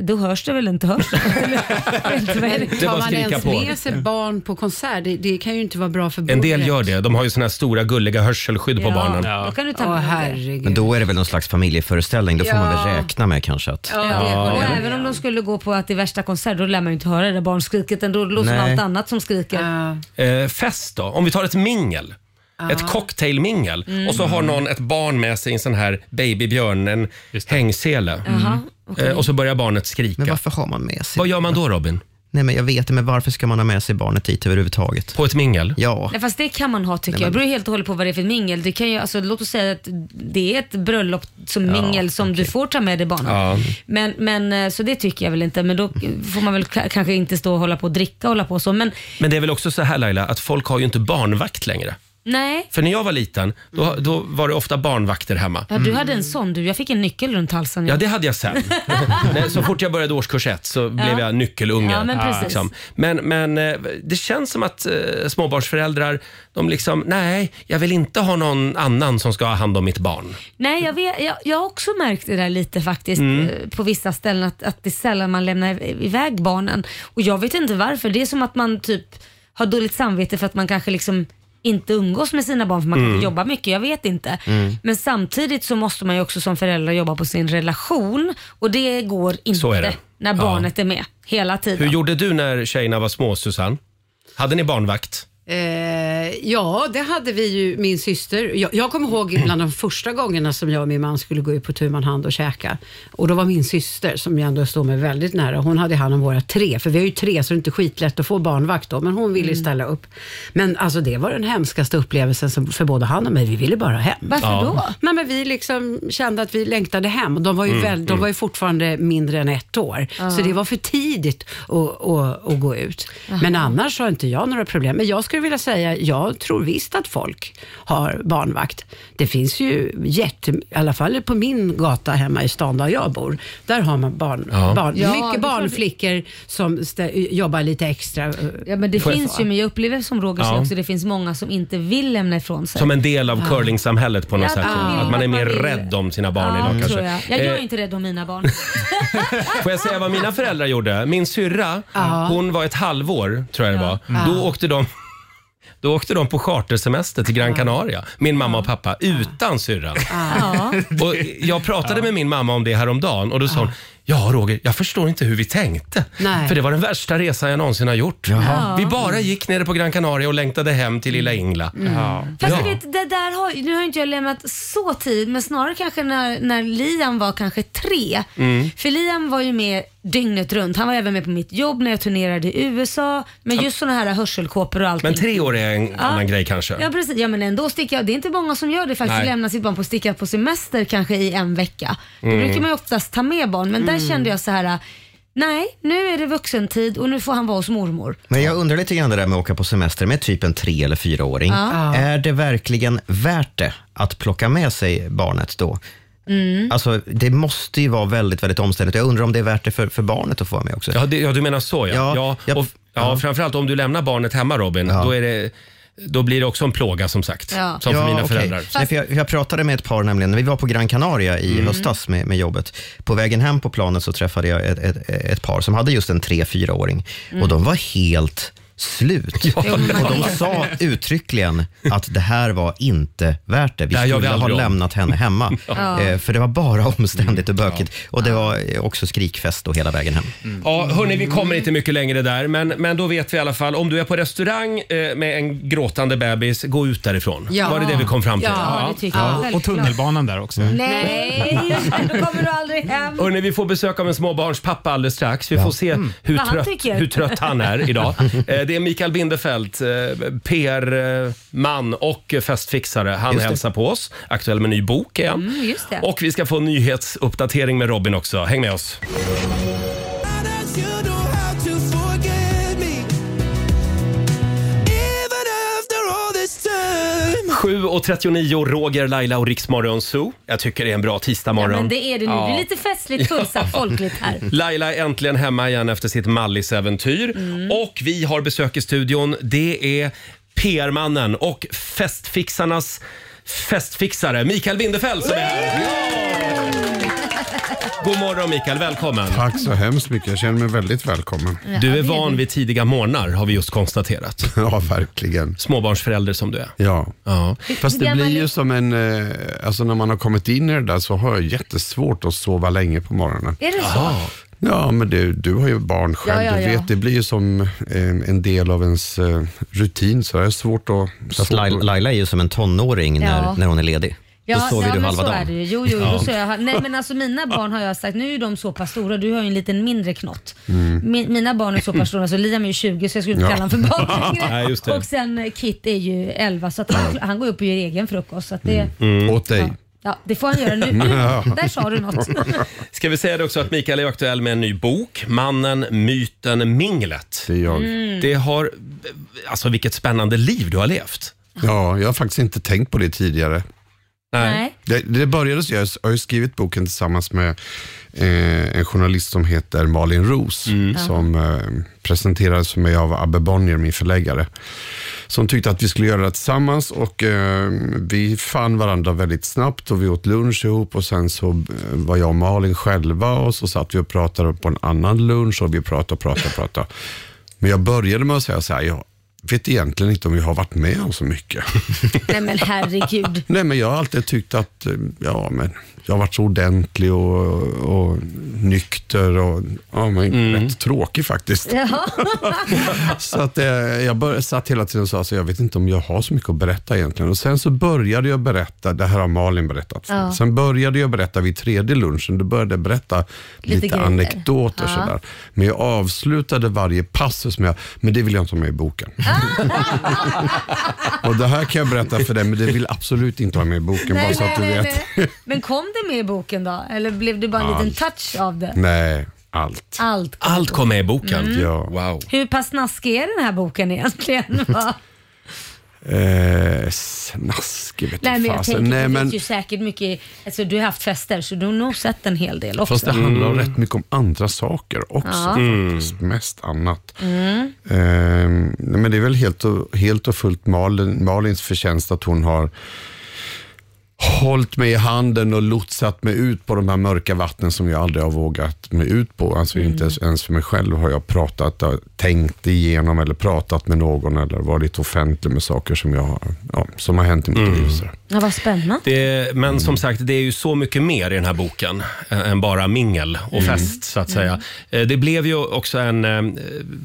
S2: Då hörs det väl inte? Hörs det?
S6: Men
S1: Det är bara
S6: tar
S1: att
S6: man
S1: skrika
S6: ens
S1: på.
S6: med sig barn på konsert, det, det kan ju inte vara bra för
S1: En del gör det. De har ju såna här stora gulliga hörselskydd på
S6: Ja,
S1: barnen.
S6: då kan du ta med
S2: Åh,
S6: det.
S3: Men då är det väl någon slags familjeföreställning. Då får man
S2: Ja.
S3: väl räkna med kanske att...
S2: Ja, det, och även om de skulle gå på att det är värsta konsert, då lär man ju inte höra det där barnskriket ändå. Det låter som
S1: Nej.
S2: allt annat som skriker.
S1: Eh, fest då? Om vi tar ett mingel.
S2: Ja.
S1: Ett cocktailmingel.
S2: Mm.
S1: Och så har någon ett barn med sig i en sån här babybjörn, en hängsele.
S3: Jaha, okej.
S1: eh, och så börjar barnet skrika. Men
S3: varför har man med sig
S1: Vad gör man då Robin?
S3: Nej, men jag vet det, men varför ska man ha med sig barnet dit överhuvudtaget?
S1: På ett mingel?
S3: Ja.
S2: Nej, fast det kan man ha tycker
S3: Nej,
S2: jag.
S3: men-
S2: Det beror helt och hållet på vad det är för mingel. Det kan ju, alltså, låt oss säga att det är ett bröllop som
S3: Ja,
S2: mingel som du får ta med dig barnen.
S1: Ja.
S2: Men, men, eh, så det tycker jag väl inte. Men då får man väl k- kanske inte stå och hålla på och dricka och hålla på och så. Men
S1: Men det är väl också så här Laila, att folk har ju inte barnvakt längre.
S2: nej.
S1: För när jag var liten, då, då var det ofta barnvakter hemma.
S2: Ja, du hade en sån du. Jag fick en nyckel runt halsen.
S1: Ja, det hade jag sen. Nej, så fort jag började årskurs ett så blev jag nyckelunge. liksom.
S2: Ja, men precis.
S1: Men, men eh, det känns som att eh, småbarnsföräldrar, de liksom, nej, jag vill inte ha någon annan som ska ha hand om mitt barn.
S2: Nej, jag, vet, jag, jag har också märkt det där lite faktiskt
S1: Mm.
S2: eh, på vissa ställen att, att det är sällan man lämnar i- iväg barnen. Och jag vet inte varför. Det är som att man typ har dåligt samvete för att man kanske liksom inte umgås med sina barn för man
S11: Mm.
S2: kanske jobbar mycket, jag vet inte.
S11: Mm.
S2: Men samtidigt så måste man ju också som förälder jobba på sin relation och det går inte
S1: Så är det.
S2: när
S1: Ja.
S2: barnet är med hela
S1: Hur
S2: tiden.
S1: gjorde du när tjejerna var små, Susanne? Hade ni barnvakt?
S6: Eh, ja, det hade vi ju, min syster. Jag, jag kommer ihåg bland de första gångerna som jag och min man skulle gå ut på tu man hand och käka. Och då var min syster, som jag ändå står mig väldigt nära, hon hade hand om våra tre. För vi har ju tre, så det är inte skitlätt att få barnvakt då. Men hon ville ju ställa upp. Men alltså det var den hemskaste upplevelsen som, för både han och mig. Vi ville bara hem.
S2: Varför Ja. då?
S6: Nej, men vi liksom kände att vi längtade hem. Och de var ju,
S2: Mm,
S6: väl, de
S2: mm.
S6: var ju fortfarande mindre än ett år.
S2: Ja.
S6: Så det var för tidigt att, att, att gå ut. Men annars har inte jag några problem. Men jag skulle vilja säga, jag tror visst att folk har barnvakt. Det finns ju jätte, i alla fall på min gata hemma i stan där jag bor, där har man barn,
S2: Ja. Ja,
S6: barn,
S2: det är
S6: mycket
S2: klart.
S6: barnflickor som stä- jobbar lite extra.
S2: Ja, men det finns ju, men jag upplever som Roger säger
S1: Ja.
S2: också, det finns många som inte vill lämna ifrån sig.
S1: Som en del av curlingsamhället på något
S2: Ja,
S1: sätt.
S2: ja.
S1: Att man är mer
S2: Man vill-
S1: rädd om sina barn
S2: ja,
S1: idag kanske.
S2: tror jag. Jag gör
S1: Eh,
S2: inte rädd om mina barn.
S1: Får jag säga vad mina föräldrar gjorde? Min syrra,
S2: Ja. Mm.
S1: hon var ett halvår tror jag det var. Då åkte de då åkte de på chartersemester till Gran Canaria, min mamma och pappa, utan syrran.
S2: Ja.
S1: Och jag pratade med min mamma om det häromdagen och då sa hon, Ja, Roger, jag förstår inte hur vi tänkte.
S6: Nej.
S1: För det var den värsta resan jag någonsin har gjort.
S2: Jaha.
S1: Vi bara gick nere på Gran Canaria och längtade hem till lilla Ingla.
S2: Mm. Fast du vet, det där har, nu har inte jag lämnat så tid, men snarare kanske när, när Liam var kanske tre.
S1: Mm.
S2: För Liam var ju med dygnet runt. Han var även med på mitt jobb när jag turnerade i USA med just sådana här hörselkåpor och allting.
S1: Men tre år är en annan grej kanske.
S2: Ja precis, ja, men ändå sticker jag. Det är inte många som gör det faktiskt,
S1: Nej.
S2: lämnar sitt barn på sticka på semester kanske i en vecka. Då
S1: Mm.
S2: brukar man ju oftast ta med barn, men
S3: Mm.
S2: där kände jag så här. Nej, nu är det vuxentid och nu får han vara hos mormor.
S3: Men jag undrar lite grann det där med att åka på semester med typ en tre eller fyraåring.
S2: Ja. Ja.
S3: Är det verkligen värt det att plocka med sig barnet då?
S2: Mm.
S3: Alltså, det måste ju vara väldigt, väldigt omständigt. Jag undrar om det är värt det för, för barnet att få vara med också.
S1: Ja, det, ja du menar så ja. Ja, Och, ja, Framförallt om du lämnar barnet hemma Robin, då, är det, då blir det också en plåga som sagt.
S2: Ja.
S1: Som för
S3: Ja,
S1: mina
S3: okej.
S1: föräldrar.
S3: Nej, för jag, jag pratade med ett par nämligen, när vi var på Gran Canaria i
S1: Mm.
S3: höstas med, med jobbet. På vägen hem på planet så träffade jag ett, ett, ett par som hade just en 3-4-åring
S2: Mm.
S3: och de var helt slut.
S2: Jo, men-
S3: och de sa uttryckligen att det här var inte värt det. Vi
S1: Det här gör vi
S3: skulle ha
S1: aldrig om.
S3: lämnat henne hemma.
S1: Ja.
S3: Eh, För det var bara omständigt och bökigt. Och det var eh, också skrikfest då hela vägen hem.
S1: Ja, hörni, vi kommer inte mycket längre där, men, men då vet vi i alla fall. Om du är på restaurang eh, med en gråtande bebis, gå ut därifrån.
S2: Ja.
S1: Var det det vi kom fram till?
S2: Ja, det tycker jag.
S10: Och- Och tunnelbanan där också.
S2: Nej, då kommer du aldrig hem.
S1: Hörrni, vi får besök av en småbarnspappa alldeles strax. Vi får se hur,
S2: Vad han
S1: trött,
S2: tycker.
S1: hur trött han är idag. Eh, Det är Mikael Bindefeldt, PR-man och festfixare. Han
S2: Just det.
S1: hälsar på oss. Aktuell med ny bok är han.
S2: Mm, just det.
S1: Och vi ska få en nyhetsuppdatering med Robin också. Häng med oss.
S4: time.
S1: 7.39, Roger, Laila och Riksmorgon Zoo. Jag tycker det är en bra tisdagmorgon.
S2: Ja, men det är det nu.
S1: Ja.
S2: Det är lite festligt, pulsat,
S1: Ja.
S2: folkligt här.
S1: Laila är äntligen hemma igen efter sitt Mallis-äventyr. Och vi har besök i studion. Det är PR-mannen och festfixarnas festfixare Mikael Winderfeld som är här. God morgon Mikael, välkommen.
S11: Tack så hemskt mycket. Jag känner mig väldigt välkommen.
S1: Du är van vid tidiga morgnar har vi just konstaterat.
S11: Ja, verkligen.
S1: Småbarnsförälder som du är.
S11: Ja. Fast det
S1: Hur
S11: blir
S1: gammal
S11: ju som en... eh, Alltså när man har kommit in i det där så har jag jättesvårt att sova länge på morgonen.
S2: Är det så? Aha.
S11: Ja, men du, du har ju barn själv.
S2: Ja, ja,
S11: du
S2: ja.
S11: vet, det blir ju som eh, en del av ens eh, rutin. Så det är svårt att...
S3: Fast Laila, Laila är ju som en
S2: Ja.
S3: tonåring när, när hon är ledig. då sover
S2: ja,
S3: du
S2: men
S3: halva
S2: så
S3: dagen.
S2: Är det ju. Jo, jo, då sover jag. Nej, men alltså mina barn har jag sagt, nu är de så pass stora, du har ju en liten mindre knott. Min, mina barn är så pass stora, så Liam är ju 20 så jag skulle inte
S1: Ja.
S2: kalla honom för barn längre.
S1: Nej, just det.
S2: Och sen eh, Kit är ju 11 så att han, han går upp och gör egen frukost. Så att det,
S11: Åt dig.
S2: ja, det får han göra nu. Där sa du något.
S1: Ska vi säga det också att Mikael är aktuell med en ny bok, Mannen, myten, minglet.
S11: Det är jag.
S2: Mm.
S1: Det har, alltså vilket spännande liv du har levt.
S11: Ja, jag har faktiskt inte tänkt på det tidigare.
S2: Nej.
S11: Det, det började så jag har ju skrivit boken tillsammans med eh, en journalist som heter Malin Roos, som eh, presenterades för mig av Abbe Bonnier, min förläggare, som tyckte att vi skulle göra det tillsammans och eh, vi fann varandra väldigt snabbt och vi åt lunch ihop och sen så eh, var jag och Malin själva och så satt vi och pratade på en annan lunch och vi pratade och pratade och pratade. Men jag började med att säga så här, jag vet egentligen inte om jag har varit med om så mycket.
S2: Nej men herregud.
S11: Nej, men jag har alltid tyckt att eh, ja, men jag har varit så ordentlig och, och nykter och ja, men, rätt tråkig faktiskt.
S2: Ja.
S11: Så att, eh, jag bör, satt hela tiden och sa, så jag vet inte om jag har så mycket att berätta egentligen. Och Sen så började jag berätta, det här har Malin berättat. för mig.
S4: Ja.
S11: Sen började jag berätta vid tredje lunchen, då började jag berätta
S4: Lite
S11: lite,
S4: grejer.
S11: anekdoter.
S4: Ja.
S11: Sådär. Men jag avslutade varje passus med, men det vill jag inte ha med i boken. och det här kan jag berätta för dig, men det vill absolut inte ha med i boken, bara så att du vet.
S2: nej. Men kom det med i boken då? Eller blev det bara en liten touch av det?
S11: Nej, allt.
S2: Allt.
S1: Allt kom med i boken.
S2: Mm.
S11: Ja.
S1: Wow.
S2: Hur pass snaskig är den här boken egentligen? va?
S11: Eh, snaskig vet
S2: Nej men jag
S11: fasen.
S2: tänker,
S11: Nej,
S2: du
S11: men,
S2: vet ju säkert mycket, alltså du har haft fester så du har nog sett en hel del också.
S11: Fast det handlar rätt mycket om andra saker också
S2: Mm. Ja.
S11: faktiskt. Mest annat.
S2: Mm.
S11: Ehm, nej, men det är väl helt och, helt och fullt Malin, Malins förtjänst att hon har hållit mig i handen och lotsat mig ut på de här mörka vattnen som jag aldrig har vågat mig ut på. Alltså
S13: Mm.
S11: inte ens- ens för mig själv har jag pratat, har tänkt igenom eller pratat med någon eller varit offentlig med saker som, jag, har- ja, som har hänt i mitt liv. Så.
S2: Ja, vad spännande.
S1: Det, men
S2: Mm.
S1: som sagt, det är ju så mycket mer i den här boken ä- än bara mingel och
S2: Mm.
S1: fest så att säga. Eh, Det blev ju också en eh,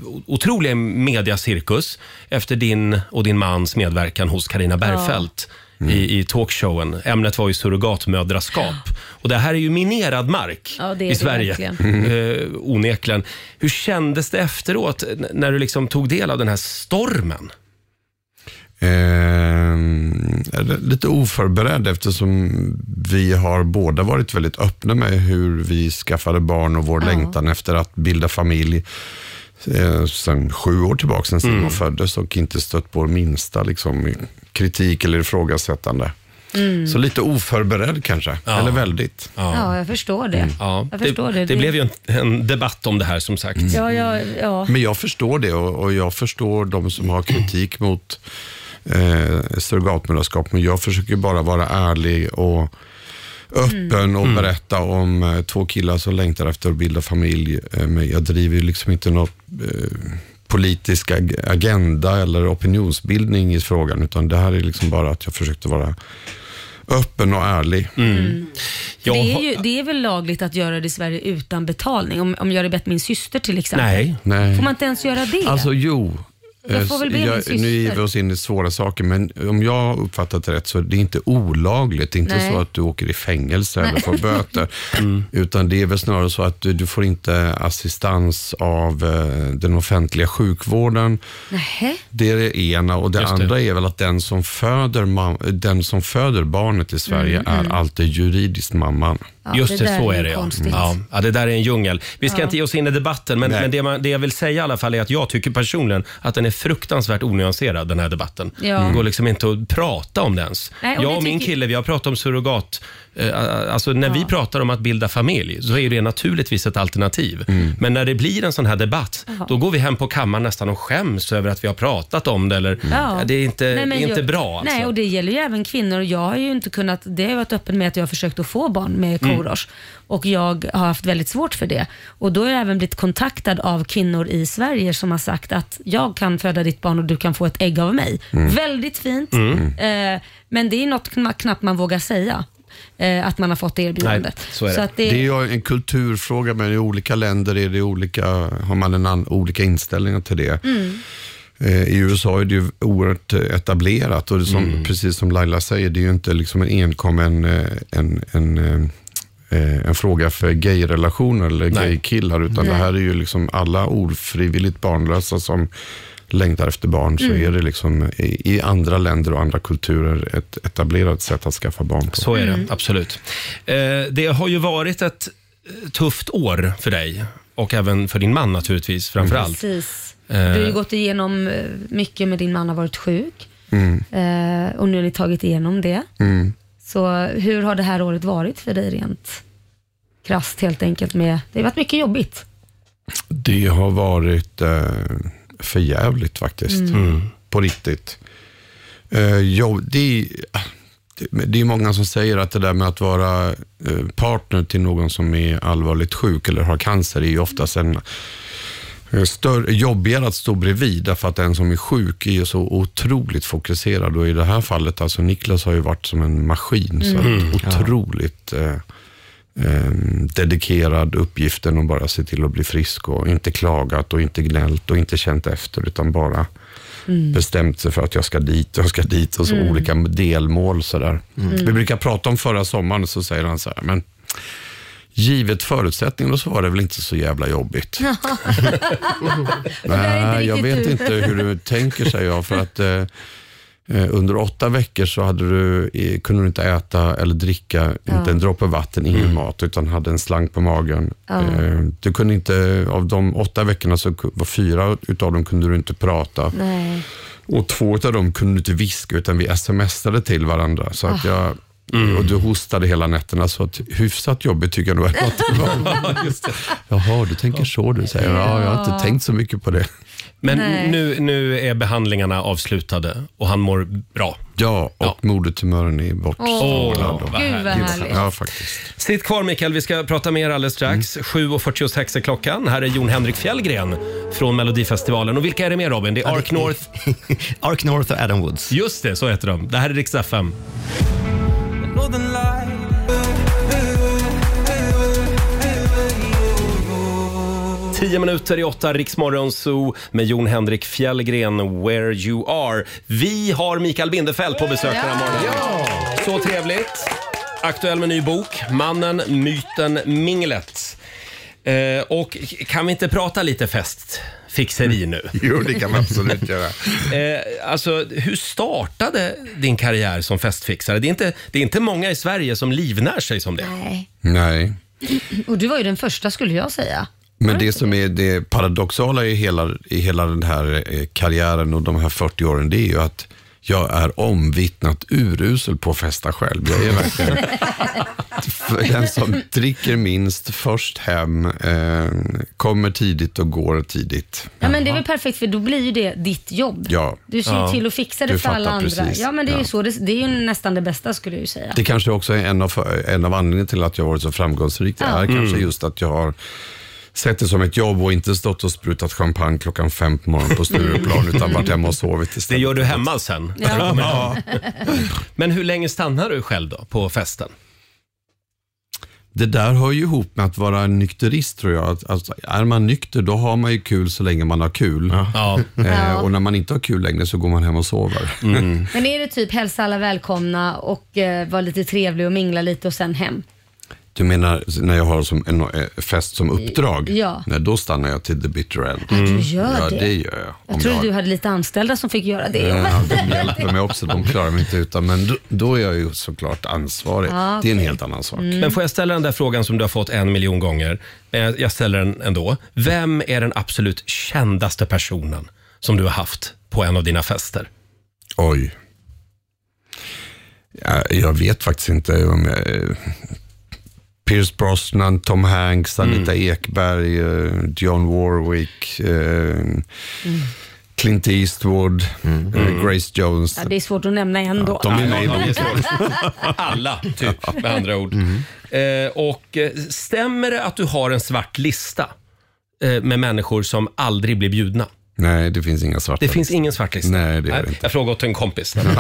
S1: o- otrolig mediacirkus efter din och din mans medverkan hos Karina Bergfeldt.
S2: Mm.
S1: I, i talkshowen. Ämnet var ju surrogatmödraskap. Och det här är ju minerad mark
S2: Ja, det är
S1: i
S2: det
S1: Sverige.
S2: verkligen.
S1: Eh, onekligen. Hur kändes det efteråt n- när du liksom tog del av den här stormen?
S11: Ehm, jag är lite oförberedd eftersom vi har båda varit väldigt öppna med hur vi skaffade barn och vår längtan efter att bilda familj eh, sen sju år tillbaka, sen Simon
S13: Mm.
S11: föddes och inte stött på minsta liksom, kritik eller ifrågasättande.
S2: Mm.
S11: Så lite oförberedd kanske, eller väldigt.
S2: Ja, jag förstår
S11: Mm.
S2: det.
S1: Ja,
S2: Jag förstår det. Mm.
S1: det blev ju en, en debatt om det här som sagt.
S2: Ja, ja, ja.
S11: Men jag förstår det och, och jag förstår de som har kritik mot eh, surrogatmödraskap. Men jag försöker bara vara ärlig och öppen och
S13: Mm.
S11: berätta om eh, två killar som längtar efter att bilda familj. Eh, men jag driver ju liksom inte någon eh, politisk ag- agenda eller opinionsbildning i frågan. Utan det här är liksom bara att jag försökte vara öppen och ärlig.
S2: För det, är ju, det är väl lagligt att göra det i Sverige utan betalning? Om, om jag hade bett min syster till exempel.
S11: Nej. Nej.
S2: Får man inte ens göra det?
S11: Alltså jo.
S2: Jag får väl be
S11: Eh,
S2: min
S11: nu ger vi
S2: syster.
S11: oss in i svåra saker, men om jag har uppfattat det rätt så är det inte olagligt. Det är inte
S2: Nej.
S11: så att du åker i fängelse
S2: Nej.
S11: eller får böter.
S13: Mm.
S11: Utan det är väl snarare så att du, du får inte assistans av eh, den offentliga sjukvården.
S2: Nähä?
S11: Det är det ena. Och det
S13: Just det.
S11: andra är väl att den som föder, mam- den som föder barnet i Sverige
S13: Mm, mm.
S11: är alltid juridiskt mamman.
S13: Ja, Just det det, där så är är det, ja. konstigt.
S1: Ja, ja, det där är en djungel. Vi ska
S13: Ja.
S1: inte ge oss in i debatten, men, men det, man, det jag vill säga i alla fall är att jag tycker personligen att den är fruktansvärt onyanserad, den här debatten.
S13: Ja.
S1: Det går liksom inte att prata om det ens.
S13: Nej, och
S1: jag
S13: det
S1: och min
S13: tycker-
S1: kille, vi har pratat om surrogat. eh, Alltså när vi pratar om att bilda familj så är det naturligtvis ett alternativ. Men när det blir en sån här debatt,
S2: Ja.
S1: då går vi hem på kammaren nästan och skäms över att vi har pratat om det. Eller,
S2: Ja.
S1: Mm. Det är inte,
S2: Nej, men
S1: det är inte
S2: jag-
S1: bra. Alltså.
S2: Nej, och det gäller ju även kvinnor. Jag har ju inte kunnat, det har jag varit öppen med att jag har försökt att få barn med
S1: Mm.
S2: Korosh och jag har haft väldigt svårt för det. Och då har jag även blivit kontaktad av kvinnor i Sverige som har sagt att jag kan föda ditt barn och du kan få ett ägg av mig.
S7: Mm.
S2: Väldigt fint,
S7: Mm.
S2: eh, men det är något kna- knappt man vågar säga. eh, Att man har fått det erbjudandet. att
S11: det... är ju en kulturfråga, men i olika länder är det olika, har man en an, olika inställningar till det.
S2: Mm.
S11: Eh, I USA är det ju oerhört eh, etablerat och det som, precis som Laila säger, det är ju inte liksom en enkommen eh, en, en, eh, eh, en fråga för gayrelationer eller
S13: Nej.
S11: gaykillar, utan
S13: Nej.
S11: det här är ju liksom alla ofrivilligt barnlösa som längtar efter barn, så
S13: Mm.
S11: är det liksom i, i andra länder och andra kulturer ett etablerat sätt att skaffa barn på.
S1: Så är det,
S11: Mm.
S1: absolut. Eh, det har ju varit ett eh, tufft år för dig och även för din man naturligtvis framför allt.
S2: Precis. Du
S1: Eh.
S2: har ju gått igenom eh, mycket med din man har varit sjuk
S11: Mm.
S2: eh, och nu har ni tagit igenom det. Så hur har det här året varit för dig rent krasst helt enkelt? Med, det har varit mycket jobbigt.
S11: Det har varit eh, för jävligt faktiskt.
S2: Mm. Mm.
S11: På riktigt. Eh, jo, det, är- det, det är många som säger att det där med att vara eh, partner till någon som är allvarligt sjuk eller har cancer är ju oftast en eh, Större, jobbigare att stå bredvid därför att den som är sjuk är ju så otroligt fokuserad och i det här fallet, alltså Niklas har ju varit som en maskin, så
S13: Mm.
S11: att otroligt eh, eh, dedikerad uppgiften och bara se till att bli frisk och inte klagat och inte gnällt och inte känt efter utan bara
S13: Mm.
S11: bestämt sig för att jag ska dit och jag ska dit och så
S13: Mm.
S11: olika delmål sådär.
S13: Mm.
S11: Vi brukar prata om förra sommaren så säger han så här, men givet förutsättningarna så var det väl inte så jävla jobbigt. Nej, jag vet inte hur du tänker, säger jag. För att eh, eh, under åtta veckor så hade du, eh, kunde du inte äta eller dricka,
S13: Ja.
S11: inte en droppe vatten, ingen mat, utan hade en slang på magen.
S13: Ja.
S11: Eh, du kunde inte, av de åtta veckorna så ku- var fyra utav dem kunde du inte prata.
S2: Nej.
S11: Och två av dem kunde du inte viska, utan vi smsade till varandra. Så att
S2: Ah.
S11: jag Och du hostade hela nätterna, så att hyfsat jobbigt tycker jag nog att det var. Jaha, du tänker så du, säger jag. Ja, jag har
S1: Ja.
S11: inte tänkt så mycket på det.
S1: Men
S11: Nej.
S1: nu, nu är behandlingarna avslutade och han mår bra.
S11: Ja, och modertumören är
S1: Åh,
S11: bortstrålad.
S1: gud, vad härligt.
S11: Ja, faktiskt.
S1: Sitt kvar Mikael, vi ska prata mer alldeles strax. 7.46 är klockan. Här är Jon Henrik Fjällgren från Melodifestivalen. Och vilka är det mer Robin? Det är Ark North.
S3: Ark North och Adam Woods.
S1: Just det, så heter de. Det här är Rix FM. Tio minuter i åtta, Riksmorgon Zoo med Jon Henrik Fjällgren, Where You Are. Vi har Mikael Bindefeld på besök den här morgonen. Så trevligt. Aktuell med ny bok, Mannen, myten, minglet. Eh, och kan vi inte prata lite festfixeri nu?
S11: Jo, det kan man absolut göra.
S1: Eh, alltså, hur startade din karriär som festfixare? Det är, inte, det är inte många i Sverige som livnär sig som det.
S2: Nej.
S11: Nej.
S2: Och du var ju den första skulle jag säga.
S11: Men det som är det paradoxala i hela, i hela den här eh, karriären och de här 40 åren, det är ju att jag är omvittnat urusel på att festa själv. Jag är verkligen för den som dricker minst, först hem, eh, kommer tidigt och går tidigt.
S2: Ja, men det är väl perfekt för då blir ju det ditt jobb.
S11: Ja.
S2: Du ser ju
S11: Ja.
S2: till att fixa
S11: Du
S2: det för alla
S11: fattar
S2: andra.
S11: precis.
S2: Ja men det är ju
S11: Ja.
S2: så, det, det är ju nästan det bästa skulle jag ju säga.
S11: Det kanske också är en av, en av anledningarna till att jag har varit så framgångsrik. Det
S2: Ja.
S11: är kanske
S2: Mm.
S11: just att jag har sett det som ett jobb och inte stått och sprutat champagne klockan fem på morgonen på Stureplan, utan varit hemma och sovit istället.
S1: Det gör du hemma sen.
S11: Ja.
S1: när du kommer hem. Men hur länge stannar du själv då på festen?
S11: Det där hör ju ihop med att vara nykterist tror jag. Att, alltså, är man nykter då har man ju kul så länge man har kul.
S1: Mm.
S11: Eh,
S2: Ja.
S11: och när man inte har kul längre så går man hem och sover.
S2: Men är det typ hälsa alla välkomna och eh, vara lite trevlig och mingla lite och sen hem?
S11: Du menar när jag har som en eh, fest som uppdrag?
S2: Ja.
S11: Nej, då stannar jag till the bitter end.
S2: du gör
S11: ja,
S2: det.
S11: det gör jag.
S2: Jag
S11: Om
S2: trodde
S11: jag- Eh,
S2: du hade lite anställda som fick göra det.
S11: Ja, de hjälper mig också, de klarar mig inte utan. Men då, då är jag ju såklart ansvarig.
S1: Ja,
S11: Det är en
S1: okej.
S11: helt annan sak.
S1: Men får jag ställa den där frågan som du har fått en miljon gånger? Men jag- jag ställer den ändå. Vem är den absolut kändaste personen som du har haft på en av dina fester?
S11: Oj. Ja, Jag vet faktiskt inte om jag... Pierce Brosnan, Tom Hanks, Anita Ekberg, eh, Dionne Warwick, eh, Clint Eastwood, eh, Grace Jones.
S2: Ja, det är svårt att nämna en då.
S11: de är Mhm. med i boken.
S1: Alla, typ, med andra ord. Eh, och eh, stämmer det att du har en svart lista eh, med människor som aldrig blir bjudna?
S11: Nej, det finns inga svarta
S1: Det finns
S11: listor.
S1: ingen svart lista?
S11: Nej, det gör det
S1: inte. Jag frågade åt en kompis.
S2: Kompis,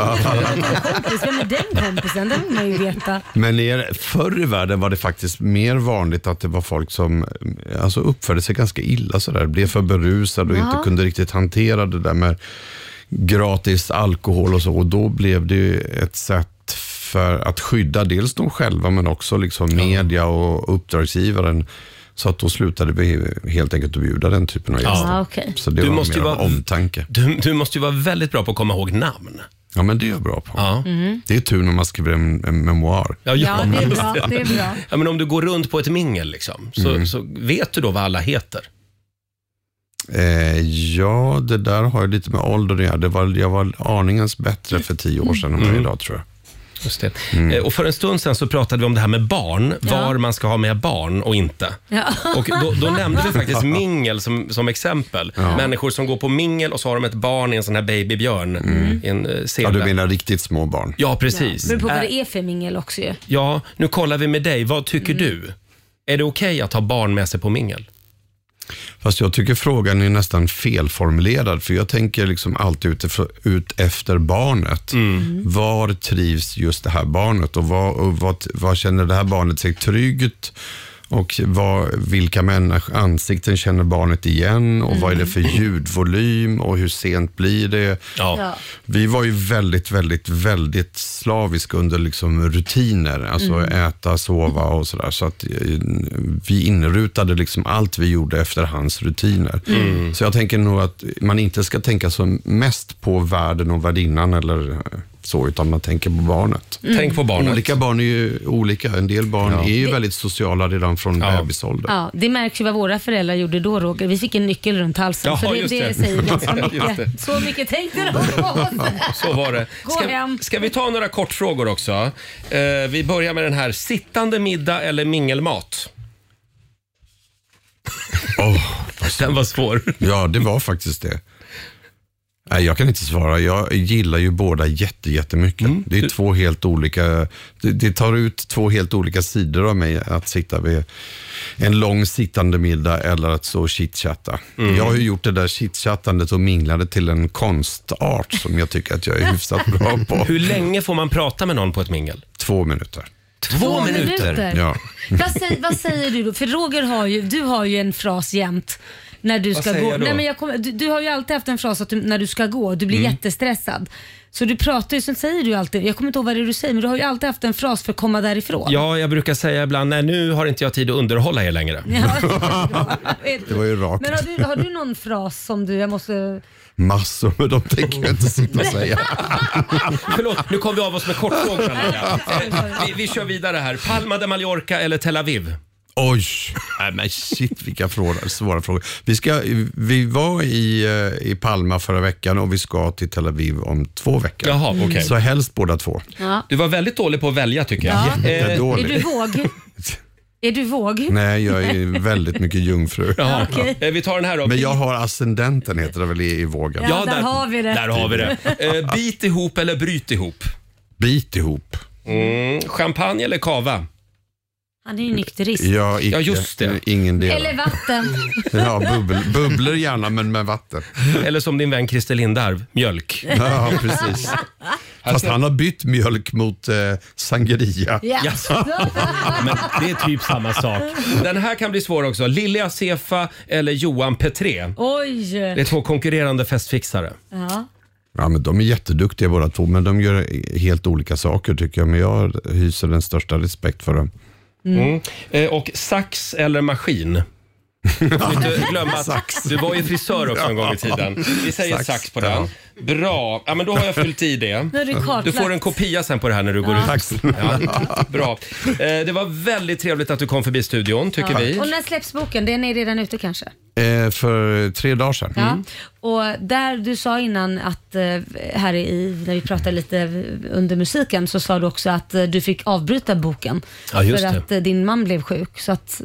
S2: vem är den kompisen? Den vill man ju veta.
S11: Men er, förr i världen var det faktiskt mer vanligt att det var folk som eh, alltså, uppförde sig ganska illa, sådär. blev för berusade och
S2: Ja.
S11: inte kunde riktigt hantera det där med gratis alkohol och så. Och då blev det ju ett sätt för att skydda dels de själva men också liksom media och uppdragsgivaren. Så att då slutade vi helt enkelt att bjuda den typen av
S1: Ja.
S11: gäster.
S1: Ah, okej.
S11: Så det
S1: Du
S11: var
S1: måste
S11: mer
S1: ju
S11: av
S1: vara-
S11: omtanke.
S1: Du, du måste ju vara väldigt bra på att komma ihåg namn.
S11: Ja, men det är jag bra på.
S1: Ja.
S11: Det är tur när man skriver en, en memoar.
S2: Mm. Ja, det är bra, det är bra.
S1: Ja, men om du går runt på ett mingel, liksom, så,
S11: Mm.
S1: så vet du då vad alla heter?
S11: Eh, ja, det där har ju lite med ålder att göra. Det var, jag var aningens bättre för tio år sedan än vad jag är idag tror jag.
S1: Just det. Eh, Och för en stund sedan så pratade vi om det här med barn, var man ska ha med barn och inte.
S2: Ja.
S1: Och då, då nämnde vi faktiskt mingel som, som exempel. Människor som går på mingel och så har de ett barn i en sån här babybjörn. I en eh, sele.
S11: Ja, du menar riktigt små barn?
S1: Ja, precis.
S2: Beror på vad
S1: Eh,
S2: det är för mingel också ju.
S1: Ja, nu kollar vi med dig. Vad tycker du? Är det okej att ha barn med sig på mingel?
S11: Fast jag tycker frågan är nästan felformulerad, för jag tänker liksom alltid ut, ut efter barnet. Var trivs just det här barnet och vad, och vad, vad känner det här barnet sig tryggt? Och vad, vilka människ- ansikten känner barnet igen och vad är det för ljudvolym och hur sent blir det?
S7: Ja.
S11: Vi var ju väldigt, väldigt, väldigt slaviska under liksom rutiner. Alltså
S7: Mm.
S11: äta, sova och sådär. Så att eh, vi inrutade liksom allt vi gjorde efter hans rutiner.
S7: Mm.
S11: Så jag tänker nog att man inte ska tänka som mest på värden och värdinnan eller eh, så, utan man tänker på barnet.
S1: Mm. Tänk på barnet.
S11: Olika barn är ju olika. En del barn
S1: Ja.
S11: är ju
S2: Det-
S11: väldigt sociala redan från bebisålder.
S2: Ja, det märks ju vad våra föräldrar gjorde då Roger. Vi fick en nyckel runt halsen.
S11: Jaha,
S2: så det,
S11: just
S2: det.
S11: det.
S2: säger ganska
S1: Just
S2: mycket.
S1: det.
S2: Så mycket tänkte de på oss.
S1: Så var det.
S2: Gå
S1: Ska,
S2: hem.
S1: ska vi ta några kortfrågor också? Eh, vi börjar med den här. Sittande middag eller mingelmat? Oh.
S11: Den var svår. Ja, det var faktiskt det. Nej, jag kan inte svara. Jag gillar ju båda jätte, jättemycket. Det är två helt olika... Det, det tar ut två helt olika sidor av mig att sitta vid en lång sittande middag eller att stå och chitchatta.
S1: Mm.
S11: Jag har ju gjort det där chitchattandet och minglade till en konstart som jag tycker att jag är hyfsat bra på.
S1: Hur länge får man prata med någon på ett mingel?
S11: Två minuter.
S1: Två minuter?
S11: Ja.
S2: Vad, säger, vad säger du då? För Roger har ju, du har ju en fras jämt. När du
S1: Vad
S2: ska
S1: säger
S2: gå.
S1: jag då?
S2: Nej, men jag kommer- du, du har ju alltid haft en fras att du, när du ska gå, du blir
S1: Mm.
S2: jättestressad. Så du pratar ju, sen säger du ju alltid, jag kommer inte ihåg vad det är du säger, men du har ju alltid haft en fras för att komma därifrån.
S1: Ja, jag brukar säga ibland, nej nu har inte jag tid att underhålla er längre.
S11: Det var ju rakt.
S2: Men har du, har du någon fras som du, jag måste...
S11: Massor, men de tänker jag inte sitta och säga.
S1: Förlåt, nu kom vi av oss med kortfrågorna. Laila. Eh, Vi, vi kör vidare här. Palma de Mallorca eller Tel Aviv?
S11: Oj, nej men shit vilka frågor, svåra frågor. Vi, ska, vi var i, eh, i Palma förra veckan och vi ska till Tel Aviv om två veckor.
S1: Jaha, Mm. okej.
S11: Så helst båda två.
S2: Ja.
S1: Du var väldigt dålig på att välja tycker jag.
S2: Ja.
S11: Jättedålig.
S2: Är Eh, du våg? Är du våg?
S11: Nej, jag är väldigt mycket jungfru.
S2: Ja, okej.
S1: Eh, Vi tar den här då.
S11: Men jag har ascendenten heter det väl i, i vågen?
S2: Ja, Ja, där där- har vi det.
S1: Där har vi det. Eh, bit ihop eller bryt ihop?
S11: Bit ihop.
S1: Mm. Champagne eller kava?
S2: Han är ju nykterist.
S11: Jag, icke,
S1: Ja, just det.
S11: Ingen del.
S2: Eller vatten.
S11: Ja, bubbel, bubblor gärna men med vatten.
S1: Eller som din vän Christer Lindarw, mjölk.
S11: Ja, precis. Fast han har bytt mjölk mot eh, sangria.
S1: Ja. Jaså? Men det är typ samma sak. Den här kan bli svår också. Lilja Sefa eller Johan Petré.
S2: Oj!
S1: Det är två konkurrerande festfixare.
S2: Ja.
S11: Ja, men de är jätteduktiga båda två, men de gör helt olika saker tycker jag. Men jag hyser den största respekt för dem.
S1: Mm. Eh, och sax eller maskin? Du får inte glömma att
S11: Sax.
S1: du var ju frisör också en gång i tiden. Vi säger sax,
S11: Sax,
S1: på den. Bra, ja, men då har jag fyllt i det.
S2: Nu är det kartlagt.
S1: Du får en kopia sen på det här när du går
S2: Ja.
S1: ut.
S2: Tack
S1: Ja. Bra. Eh, det var väldigt trevligt att du kom förbi studion, tycker
S2: Ja.
S1: vi.
S2: Och när släpps boken? Den är redan ute kanske?
S11: Eh, för tre dagar sedan.
S2: Ja.
S1: Mm.
S2: Och där du sa innan att, eh, här i, när vi pratade lite under musiken, så sa du också att eh, du fick avbryta boken.
S11: Ja, just
S2: för
S11: det.
S2: att eh, din man blev sjuk. Så att,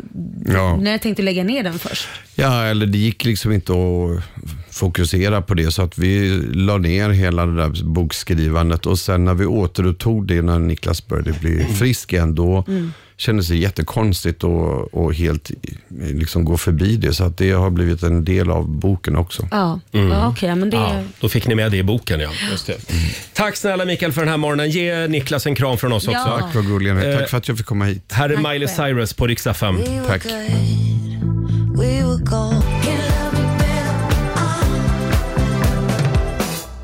S11: Ja.
S2: när jag tänkte lägga ner den först.
S11: Ja, eller det gick liksom inte att fokusera på det, så att vi la ner hela det där bokskrivandet och sen när vi återupptog det när Niklas började bli frisk igen, då
S4: Mm.
S11: kändes det jättekonstigt och, och helt eh, liksom gå förbi det, så att det har blivit en del av boken också.
S2: Ja,
S11: Mm.
S2: ja okej. men det...
S1: Ja, då fick ni med det i boken. Ja. Just det. Tack snälla Mikael för den här morgonen. Ge Niklas en kram från oss
S2: Ja.
S1: också.
S2: Tack, vad
S11: gulliga ni är. Tack
S1: Eh,
S11: för att jag fick komma hit.
S1: Här är
S2: Tack
S1: Miley
S2: själv.
S1: Cyrus på riksdag 5.
S11: Tack.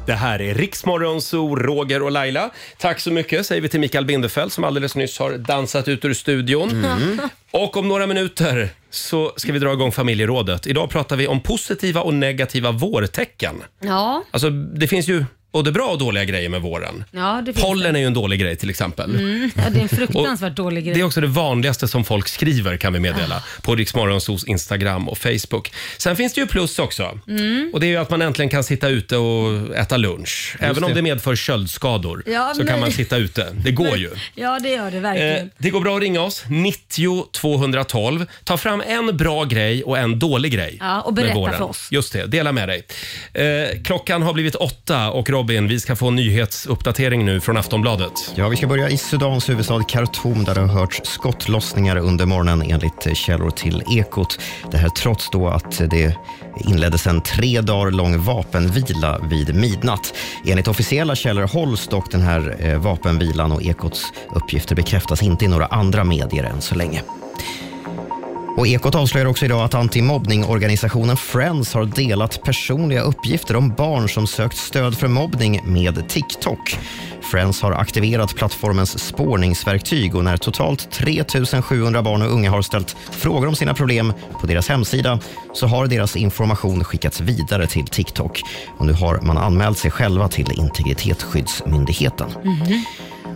S1: Det här är Riksmorgon, Zoo, Roger och Laila. Tack så mycket säger vi till Mikael Bindefeld som alldeles nyss har dansat ut ur studion.
S4: Mm.
S1: Och om några minuter så ska vi dra igång familjerådet. Idag pratar vi om positiva och negativa vårtecken.
S2: Ja,
S1: Alltså, det finns ju både bra och dåliga grejer med våren.
S2: ja det finns
S1: Pollen är ju en dålig grej till exempel.
S2: Mm. Ja, det är en fruktansvärt dålig grej.
S1: Det är också det vanligaste som folk skriver kan vi meddela
S2: Ah.
S1: på Riksmorgonsos Instagram och Facebook. Sen finns det ju plus också.
S2: Mm.
S1: Och det är ju att man äntligen kan sitta ute och äta lunch. Även om
S2: det.
S1: det medför köldskador
S2: Ja,
S1: så
S2: men-
S1: kan man sitta ute. Det går ju.
S2: Ja, det gör det verkligen.
S1: Eh, det går bra att ringa oss, 90 212. Ta fram en bra grej och en dålig grej.
S2: Ja, och
S1: med
S2: berätta
S1: våren.
S2: för oss.
S1: Just det, dela med dig. Eh, klockan har blivit åtta och Robin, vi ska få en nyhetsuppdatering nu från Aftonbladet.
S3: Ja, vi ska börja i Sudans huvudstad Khartoum där det har hörts skottlossningar under morgonen enligt eh, källor till Ekot. Det här trots då att eh, det inleddes en tre dagar lång vapenvila vid midnatt. Enligt officiella källor hålls dock den här eh, vapenvilan och Ekots uppgifter bekräftas inte i några andra medier än så länge. Och Ekot avslöjar också idag att antimobbningorganisationen Friends har delat personliga uppgifter om barn som sökt stöd för mobbning med TikTok. Friends har aktiverat plattformens spårningsverktyg och när totalt 3 700 barn och unga har ställt frågor om sina problem på deras hemsida så har deras information skickats vidare till TikTok. Och nu har man anmält sig själva till Integritetsskyddsmyndigheten.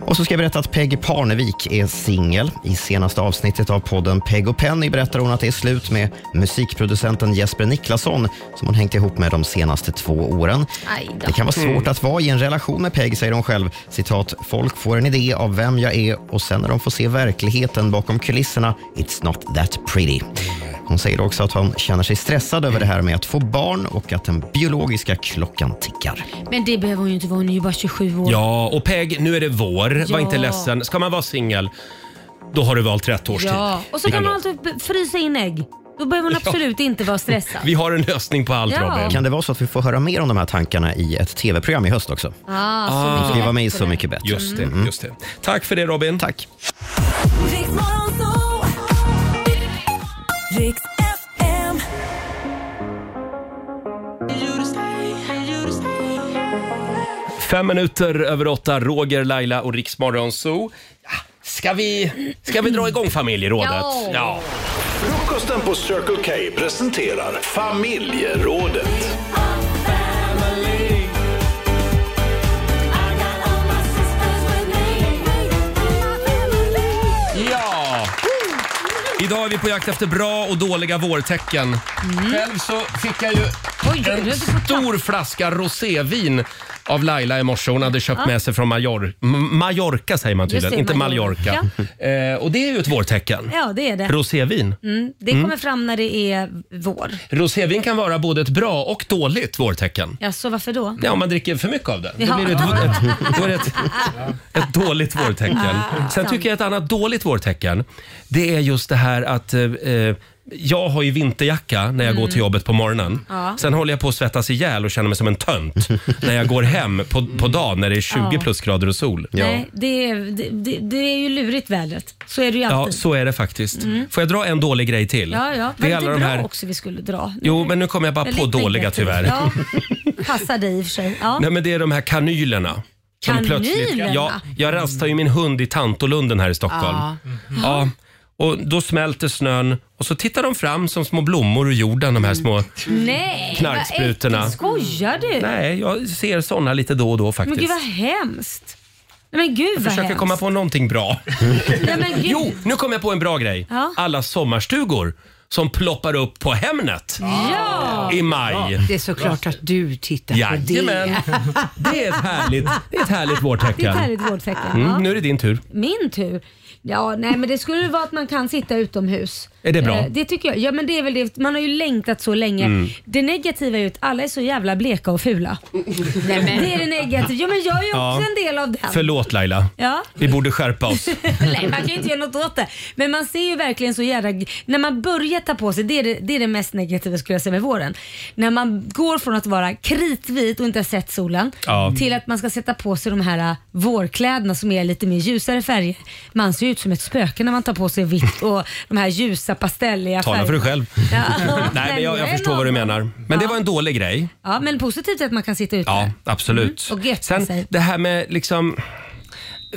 S3: Och så ska jag berätta att Peg Parnevik är singel. I senaste avsnittet av podden Peg och Penny berättar hon att det är slut med musikproducenten Jesper Niklasson som hon hängt ihop med de senaste två åren.
S7: Aj då.
S3: Det kan vara svårt
S7: Mm.
S3: att vara i en relation med Peg, säger hon själv. Citat, folk får en idé av vem jag är och sen när de får se verkligheten bakom kulisserna, it's not that pretty. Hon säger också att hon känner sig stressad över det här med att få barn och att den biologiska klockan tickar.
S2: Men det behöver hon ju inte vara, hon är ju bara 27 år.
S1: Ja, och Peg, nu är det vår.
S2: Ja.
S1: Var inte ledsen. Ska man vara singel, då har du valt rätt årstid.
S2: Ja, och så kan
S1: Ändå.
S2: man alltid b- frysa in ägg. Då behöver man
S1: Ja.
S2: absolut inte vara stressad.
S1: Vi har en lösning på allt,
S2: Ja.
S1: Robin.
S3: Kan det vara så att vi får höra mer om de här tankarna i ett tv-program i höst också?
S2: Ah, så
S1: Ah.
S3: Vi ska
S1: mycket
S3: vara med i
S1: bättre.
S3: Så mycket bättre.
S1: Just det,
S3: Mm.
S1: just det. Tack för det, Robin.
S3: Tack.
S1: Fem minuter över åtta, Roger, Laila och Riksmorgon Zoo. Ja, Ska vi, ska vi dra igång familjerådet?
S4: Ja.
S1: Ja.
S4: Frukosten på Circle K presenterar familjerådet.
S1: Ja! Idag är vi på jakt efter bra och dåliga vårtecken.
S2: Mm.
S1: Själv så fick jag ju en stor flaska rosévin av Laila i morse. Hon hade köpt
S2: Ja.
S1: med sig från Major- M- Mallorca, säger man
S2: Just
S1: tydligen,
S2: det,
S1: inte
S2: Mallorca.
S1: Mallorca. Eh, och det är ju ett vårtecken.
S2: Ja, det är det.
S1: Rosévin.
S2: Mm, det
S1: Mm.
S2: kommer fram när det är vår.
S1: Rosévin kan vara både ett bra och dåligt vårtecken.
S2: Ja, så varför då?
S1: Ja, om man dricker för mycket av det. Då
S2: Ja.
S1: blir det ett, ett, då är det ett, ett dåligt vårtecken.
S2: Ja,
S1: Sen
S2: sant.
S1: tycker jag ett annat dåligt vårtecken, det är just det här att eh, eh, jag har ju vinterjacka när jag
S2: Mm.
S1: går till jobbet på morgonen.
S2: Ja.
S1: Sen håller jag på att svettas ihjäl och känner mig som en tönt när jag går hem på, på dagen när det är 20
S2: Mm. Ja.
S1: plusgrader och sol.
S2: Nej, det är, det, det, det är ju lurigt vädret. Så är det ju
S1: Ja,
S2: alltid.
S1: så är det faktiskt.
S2: Mm.
S1: Får jag dra en dålig grej till?
S2: Ja, ja. Var
S1: Det
S2: det
S1: är alla
S2: inte
S1: de
S2: bra
S1: här...
S2: också vi skulle dra?
S1: Jo, men nu kommer jag bara
S2: Väldigt
S1: på dåliga
S2: negativt.
S1: tyvärr.
S2: Ja, passar dig i och för sig. Ja.
S1: Nej men det är de här kanylerna. Som
S2: Kanylerna?
S1: plötsligt- ja, jag rastar ju min hund i Tantolunden här i Stockholm. Mm-hmm.
S2: Ja.
S1: Ja. och då smälter snön och så tittar de fram som små blommor ur jorden, de här små...
S2: Nej,
S1: Knarksprutorna.
S2: vad äckligt. Skojar du?
S1: Nej, jag ser såna lite då och då
S2: Men
S1: faktiskt.
S2: gud vad hemskt. Nej men gud
S1: jag
S2: vad
S1: försöker
S2: hemskt.
S1: komma på någonting bra.
S2: Nej, men gud.
S1: jo, nu kom jag på en bra grej.
S2: Ja.
S1: Alla sommarstugor som ploppar upp på Hemnet
S6: Ja.
S1: i maj.
S6: Det är såklart att du tittar på
S1: Jajamän.
S6: det.
S1: Det är ett härligt, det är ett härligt vårtecken.
S2: Det är ett härligt vårtecken. ja.
S1: Mm, nu är det din tur.
S2: Min tur? Ja, nej men det skulle ju vara att man kan sitta utomhus.
S1: Är det bra?
S2: Eh, Det tycker jag. Ja men det är väl det. Man har ju längtat så länge.
S1: Mm.
S2: Det negativa är ju att alla är så jävla bleka och fula. Det är det negativa. Ja men jag är ju också
S1: Ja.
S2: en del av den.
S1: Förlåt Laila.
S2: Ja.
S1: Vi borde skärpa oss.
S2: Nej, man kan ju inte göra något åt det. Men man ser ju verkligen så jävla... När man börjar ta på sig, det är det, det, är det mest negativa skulle jag säga med våren. När man går från att vara kritvit och inte har sett solen
S7: Ja.
S2: till att man ska sätta på sig de här äh, vårkläderna som är lite mer ljusare färger. Man ser ju ut som ett spöke när man tar på sig vitt och de här ljusa pastelliga
S1: Tala för dig själv.
S2: Ja.
S1: Nej, men jag, jag förstår vad du menar. Men det var en dålig grej.
S2: Ja, men positivt är att man kan sitta ute.
S1: Ja, absolut.
S2: Mm. Och götta sig.
S1: Det här med liksom...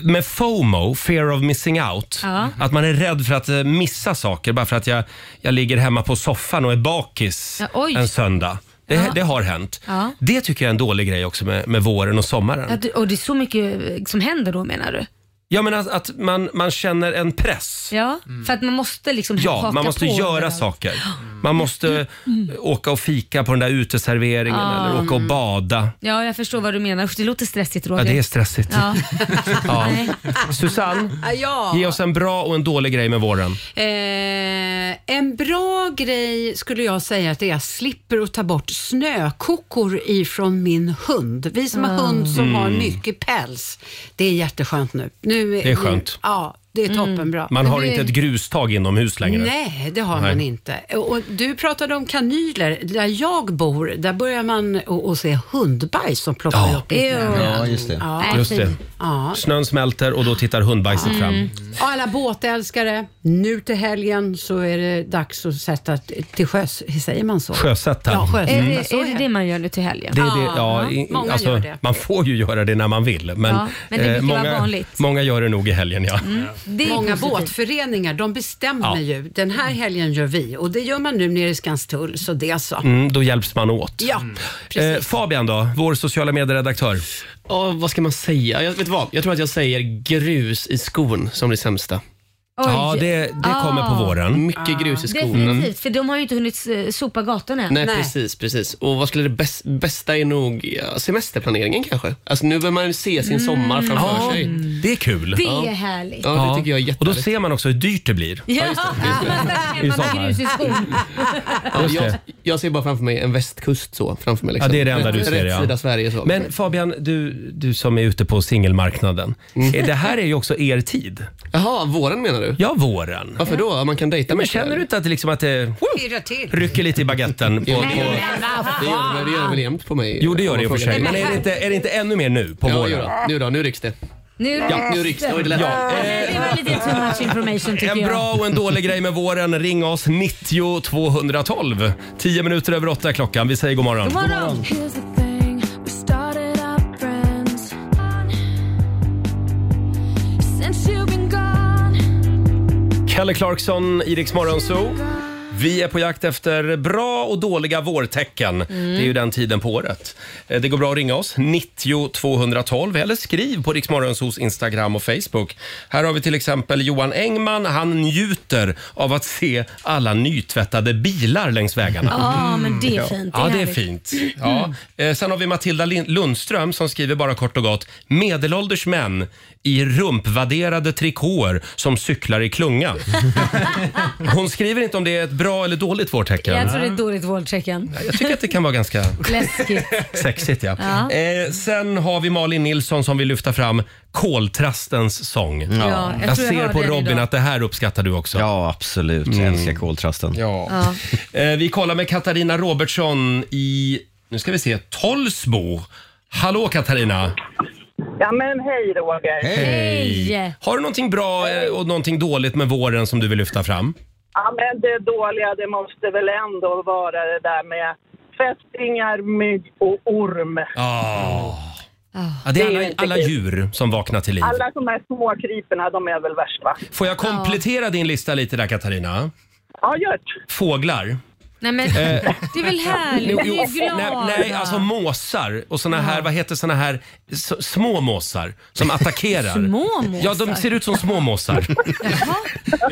S1: Med FOMO, fear of missing out.
S2: Ja.
S1: Att man är rädd för att eh, missa saker bara för att jag, jag ligger hemma på soffan och är bakis
S2: Ja, oj.
S1: en söndag. Det,
S2: Ja.
S1: det har hänt.
S2: Ja.
S1: Det tycker jag är en dålig grej också med, med våren och sommaren.
S2: Att, och det är så mycket eh, som händer då menar du?
S1: Ja, men att, att man, man känner en press.
S2: Ja, för att man måste liksom
S1: Ja,
S2: haka
S1: man måste
S2: på
S1: göra
S2: överallt.
S1: saker. Man måste
S6: Mm.
S1: eh, åka och fika på den där uteserveringen
S2: Ah.
S1: eller åka och bada.
S2: Ja, jag förstår vad du menar. Usch, det låter stressigt Roger.
S1: Ja, det är stressigt.
S2: Ja.
S1: Ja.
S2: Nej.
S1: Susanne,
S6: Ja.
S1: ge oss en bra och en dålig grej med våren.
S6: Eh, en bra grej skulle jag säga att det är att jag slipper att ta bort snökokor ifrån min hund. Vi som har
S2: Ah.
S6: hund som har
S1: Mm.
S6: mycket päls, det är jätteskönt nu. nu
S1: Det är skönt. Mm.
S6: Nu, ja, Det är toppenbra.
S1: Man har
S6: Det-
S1: inte ett grustag inomhus längre.
S6: Nej, det har
S1: Nej.
S6: man inte. Och du pratade om kanyler. Där jag bor, där börjar man å- att se hundbajs som ploppar upp. lite grann.
S1: Ja, just det.
S6: Ja.
S1: Just det.
S6: Ja.
S1: Snön smälter och då tittar hundbajset
S6: Mm.
S1: fram.
S6: Och alla båtälskare, nu till helgen så är det dags att sätta t- till sjöss. Säger man så?
S1: Sjösätta.
S6: Ja, sjösätta.
S1: Mm.
S6: Så
S2: Är det det man gör nu till helgen?
S1: Det är det, ja, i-
S2: många
S1: alltså,
S2: gör det.
S1: Man får ju göra det när man vill, men, eh,
S6: Ja, men det brukar vara
S1: många,
S6: vanligt. Mm.
S1: många gör det nog i helgen. Ja.
S6: Många
S2: positivt.
S6: båtföreningar de bestämmer
S1: Ja. Mm.
S6: ju. Den här helgen gör vi och det gör man nu nere i Skanstull, så det så.
S1: Mm, då hjälps man åt.
S6: Ja,
S1: Eh, Fabian då, vår sociala medieredaktör.
S14: Ja, vad ska man säga? Jag, vet du vad? jag tror att jag säger grus i skon som det sämsta.
S2: Oj. Ja, det- det kommer på Ah. våren.
S14: Mycket grus i skon.
S1: Mm.
S2: Definitivt, för de har ju inte hunnit eh, sopa gatorna än.
S14: Nej, precis, precis. Och vad skulle det bäst, bästa är nog ja, semesterplaneringen kanske? Alltså nu bör man ju se sin sommar framför
S1: Ja,
S14: sig.
S1: Det är kul.
S2: Det är härligt.
S14: Ja, det tycker jag är
S1: och då ser man också hur dyrt det blir.
S2: Ja,
S1: I
S2: man har
S1: sommar.
S2: grus i skon.
S14: Ja,
S1: Just
S14: jag,
S1: det.
S14: jag ser bara framför mig en västkust så. Framför mig, liksom.
S1: Ja, det är det enda du
S14: Rätt-
S1: ser.
S14: Rätt
S1: Ja.
S14: sida Sverige så.
S1: Men Fabian, du, du som är ute på singelmarknaden. Det här är ju också er tid.
S14: Jaha, våren menar du?
S1: Ja, våren.
S14: Varför då? Man kan dejta
S1: ja, men
S14: mycket,
S1: Känner
S14: eller?
S1: du inte att det, liksom, att det
S6: Pirra till.
S1: rycker lite i baguetten? På,
S14: Jo,
S1: på...
S14: det gör det. Det gör det, det gör det väl jämt på mig?
S1: Jo, det gör
S14: om
S1: det i och
S14: man
S1: för
S14: frågar
S1: sig. Men
S14: mig.
S1: är det inte, är det inte ännu mer nu på
S14: Ja,
S1: våren?
S14: jo då. Nu då, nu rycks det.
S2: Nu
S14: Ja, nu rycks det. Oj, det lät-
S1: Ja.
S2: Det var lite too much information tycker
S1: En bra och en dålig grej med våren. Ring oss 90 212. 10 minuter över åtta är klockan. Vi säger god morgon.
S7: Here's the thing, we started out friends. Since you've been gone.
S1: Kalle Clarkson, Iriks morgonzoo. Vi är på jakt efter bra och dåliga vårtecken. Det är ju den tiden på året. Eh, Det går bra att ringa oss, 90 212 eller skriv på Rix Morgonzoos Instagram och Facebook. Här har vi till exempel Johan Engman. Han njuter av att se alla nytvättade bilar längs vägarna.
S2: Ja, men det är fint. Det är
S1: Mm. Ja, det är
S2: härligt. Mm.
S1: fint. Ja. Eh, Sen har vi Matilda Lin- Lundström som skriver bara kort och gott “Medelålders män i rumpvaderade trikåer som cyklar i klunga”. Hon skriver inte om det är ett bra eller dåligt vårtecken.
S2: Jag tror det är ett dåligt våldtecken.
S1: Jag tycker att det kan vara ganska
S2: Läskigt.
S1: sexigt. Ja.
S2: Ja.
S1: Eh, sen har vi Malin Nilsson som vill lyfta fram koltrastens sång.
S2: Ja, jag
S1: jag
S2: tror jag
S1: ser
S2: hörde
S1: på
S2: den
S1: Robin
S2: idag.
S1: att det här uppskattar du också. Ja, absolut. Jag älskar koltrasten. Ja. Eh, vi kollar med Katarina Robertsson i, nu ska vi se, Tollsbo. Hallå Katarina!
S5: Ja, men hej Roger.
S1: Har du någonting bra eh, och någonting dåligt med våren som du vill lyfta fram?
S5: Ja, men det dåliga det måste väl ändå vara det där med fästingar, mygg och orm.
S1: Ja. Ja, det är alla, alla djur som vaknar till liv.
S5: Alla de här småkryperna, de är väl värst va?
S1: Får jag komplettera din lista lite där Katarina?
S5: Ja, gör
S1: Fåglar.
S2: Nej, men
S1: Eh.
S2: det är väl härligt? Vi är glada.
S1: nej, nej, alltså måsar och såna här, vad heter såna här s- små måsar som attackerar.
S2: Små måsar?
S1: Ja, de ser ut som små måsar.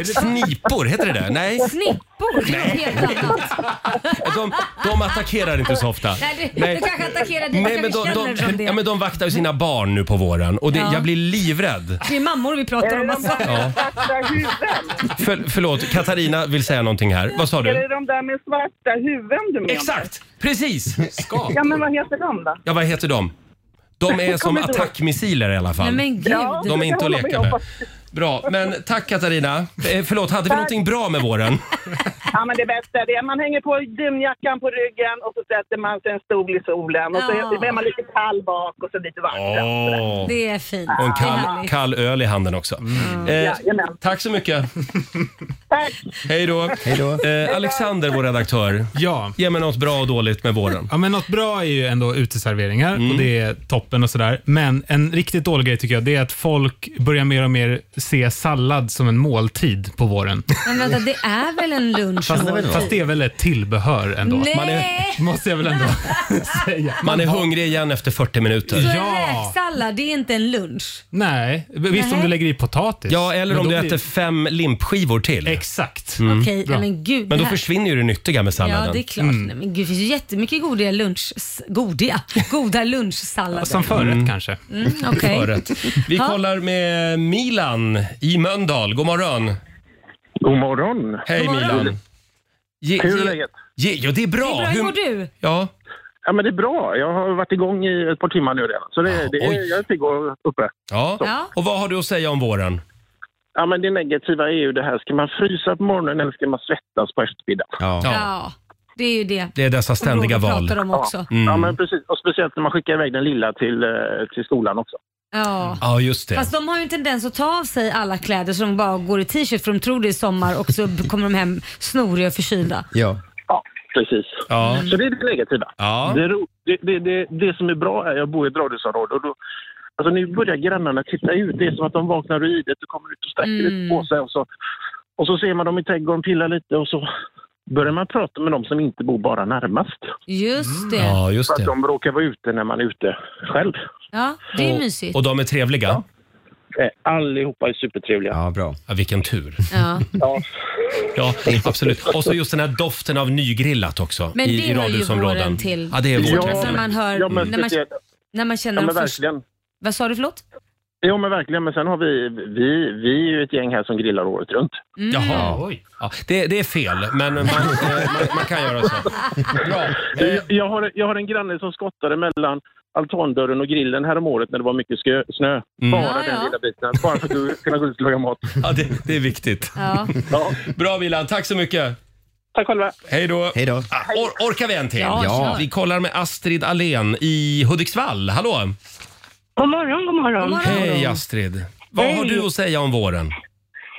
S1: Snipor, heter det det? Nej.
S2: Snippor, det är något helt annat.
S1: De, de attackerar inte så ofta.
S2: Nej, det- de kanske attackerar dig,
S1: Nej,
S2: jag
S1: men de,
S2: känner
S1: de,
S2: dem det.
S1: ja, men de vaktar ju sina barn nu på våren och det,
S2: Ja.
S1: jag blir livrädd.
S2: Det är mammor vi pratar om. Alltså.
S1: Ja.
S5: svarta huvuden?
S1: För, förlåt, Katarina vill säga någonting här. Vad sa
S5: Är det
S1: du?
S5: de där med svarta huvuden du menar?
S1: Exakt! Precis! Ska.
S5: Ja, men vad heter de då?
S1: Ja, vad heter de? De är
S5: Jag
S1: som
S5: kommer inte ihåg.
S1: attackmissiler i alla fall.
S5: Nej, men gud. Ja,
S1: de är
S5: det
S1: inte att
S5: håller
S1: leka
S5: jag
S1: med.
S5: på.
S1: Bra, men tack Katarina. Eh, förlåt, hade vi någonting bra med våren?
S5: Ja, men det bästa är det. Man hänger på dunjackan på ryggen och så sätter man sig en stol i solen och så
S2: Ja.
S5: är man lite kall bak och så lite varmt.
S1: Åh.
S2: Det är fint.
S1: Och en
S2: Det är
S1: kall,
S2: härligt.
S1: kall öl i handen också. Eh, tack så mycket. Hej då. Eh, Alexander, vår redaktör.
S10: Ja.
S1: Ge mig något bra och dåligt med våren.
S10: Ja, men något bra är ju ändå uteserveringar
S1: Mm.
S10: och det är toppen och sådär. Men en riktigt dålig grej tycker jag, det är att folk börjar mer och mer se sallad som en måltid på våren.
S2: Men vänta, det är väl en lunch?
S10: Fast,
S2: vår
S10: fast det
S2: tid?
S10: är väl ett tillbehör ändå?
S2: Nej!
S10: Man är, måste jag väl ändå säga.
S1: Man är hungrig igen efter 40
S2: Så
S1: minuter.
S2: en räksallad, det är inte en lunch?
S10: Nej, visst om
S2: Nej.
S10: du lägger i potatis.
S1: Ja, eller
S10: Men
S1: om
S10: då
S1: du
S10: blir-
S1: äter Mm. fem limpskivor till.
S10: Exakt.
S2: Okej, nej, men gud.
S1: Men
S2: det
S1: då
S2: här-
S1: försvinner ju det nyttiga med salladen.
S2: Ja, det är klart.
S1: Mm.
S2: Nej, men gud, det finns ju jättemycket goda lunch... s- Godiga? Goda lunchsallader.
S1: Mm.
S10: kanske.
S2: Mm, okej.
S1: Förrätt. Vi
S2: Ja.
S1: kollar med Milan i Mölndal. God morgon.
S15: God morgon.
S1: Hej
S15: God morgon.
S1: Milan. Ge,
S15: Hur är
S1: ge-
S15: läget?
S1: Ge, ja, det är bra.
S15: Det är bra. Hur mår
S2: du?
S1: Ja.
S15: Ja, men det är bra. Jag har varit igång i ett par timmar nu redan. Så det, det är,
S1: oj.
S15: jag är pigg och uppe.
S1: Ja.
S15: Så.
S1: Och vad har du att säga om våren?
S15: Ja, men det negativa är ju det här, ska man frysa på morgonen eller ska man svettas på eftermiddagen?
S2: Ja, det är ju det.
S1: Det är dessa ständiga
S2: Roger
S1: val. Mm.
S2: pratar om också.
S15: Ja, ja, men precis. Och speciellt när man skickar iväg den lilla till, eh, till skolan också.
S2: Ja.
S1: Ja, just det.
S2: Fast de har ju en tendens att ta av sig alla kläder så de bara går i t-shirt för de tror det är sommar och så kommer de hem snoriga och förkylda.
S1: Ja.
S15: Precis.
S1: Ja.
S15: Så det är det negativa.
S1: Ja.
S15: Det, ro- det, det, det, det som är bra är att jag bor i ett radhusområde och då Alltså nu börjar grannarna titta ut. Det är som att de vaknar ur idet och kommer ut och sträcker
S1: Mm.
S15: lite på sig. Och så, och så ser man dem i trädgården pilla lite och så börjar man prata med dem som inte bor bara närmast.
S2: Just det.
S1: Ja, just
S15: För att
S1: det.
S15: de råkar vara ute när man är ute själv.
S2: Ja, det är mysigt.
S1: Och de är trevliga?
S15: Eh, Allihopa är supertrevliga.
S1: Ja, bra. vilken tur.
S2: Ja.
S1: Ja, absolut. Och så just den här doften av nygrillat också
S2: Men
S1: i,
S2: det
S1: i
S2: hör ju
S1: radhusområden.
S2: våren till.
S1: Ja, det är våren.
S2: Alltså när man hör,
S15: Ja, men
S2: när, man,
S15: speciellt-
S2: när man känner
S15: Ja, men
S2: de först-
S15: verkligen.
S2: Vad sa du förlåt?
S15: Jo men verkligen, men sen har vi, vi, vi är ju ett gäng här som grillar året runt.
S2: Mm.
S1: Jaha. Ja, det, det är fel, men man, eh, man, man kan göra så.
S15: Jag, jag, har, jag har en granne som skottade mellan altandörren och grillen här om året när det var mycket skö, snö. Bara
S1: Ja,
S15: den lilla biten, bara för att du kunna gå ut och laga mat.
S1: Ja, det, det är viktigt.
S2: Ja.
S1: Bra Vilan, tack så mycket.
S15: Tack själva.
S1: Hej då.
S3: Hej då.
S14: Ah.
S1: Or, orkar vi en till?
S3: Ja, Ja. kör.
S1: Vi kollar med Astrid Alén i Hudiksvall. Hallå!
S16: God morgon, god morgon.
S1: Hej Astrid. Vad har
S16: Hej.
S1: du att säga om våren?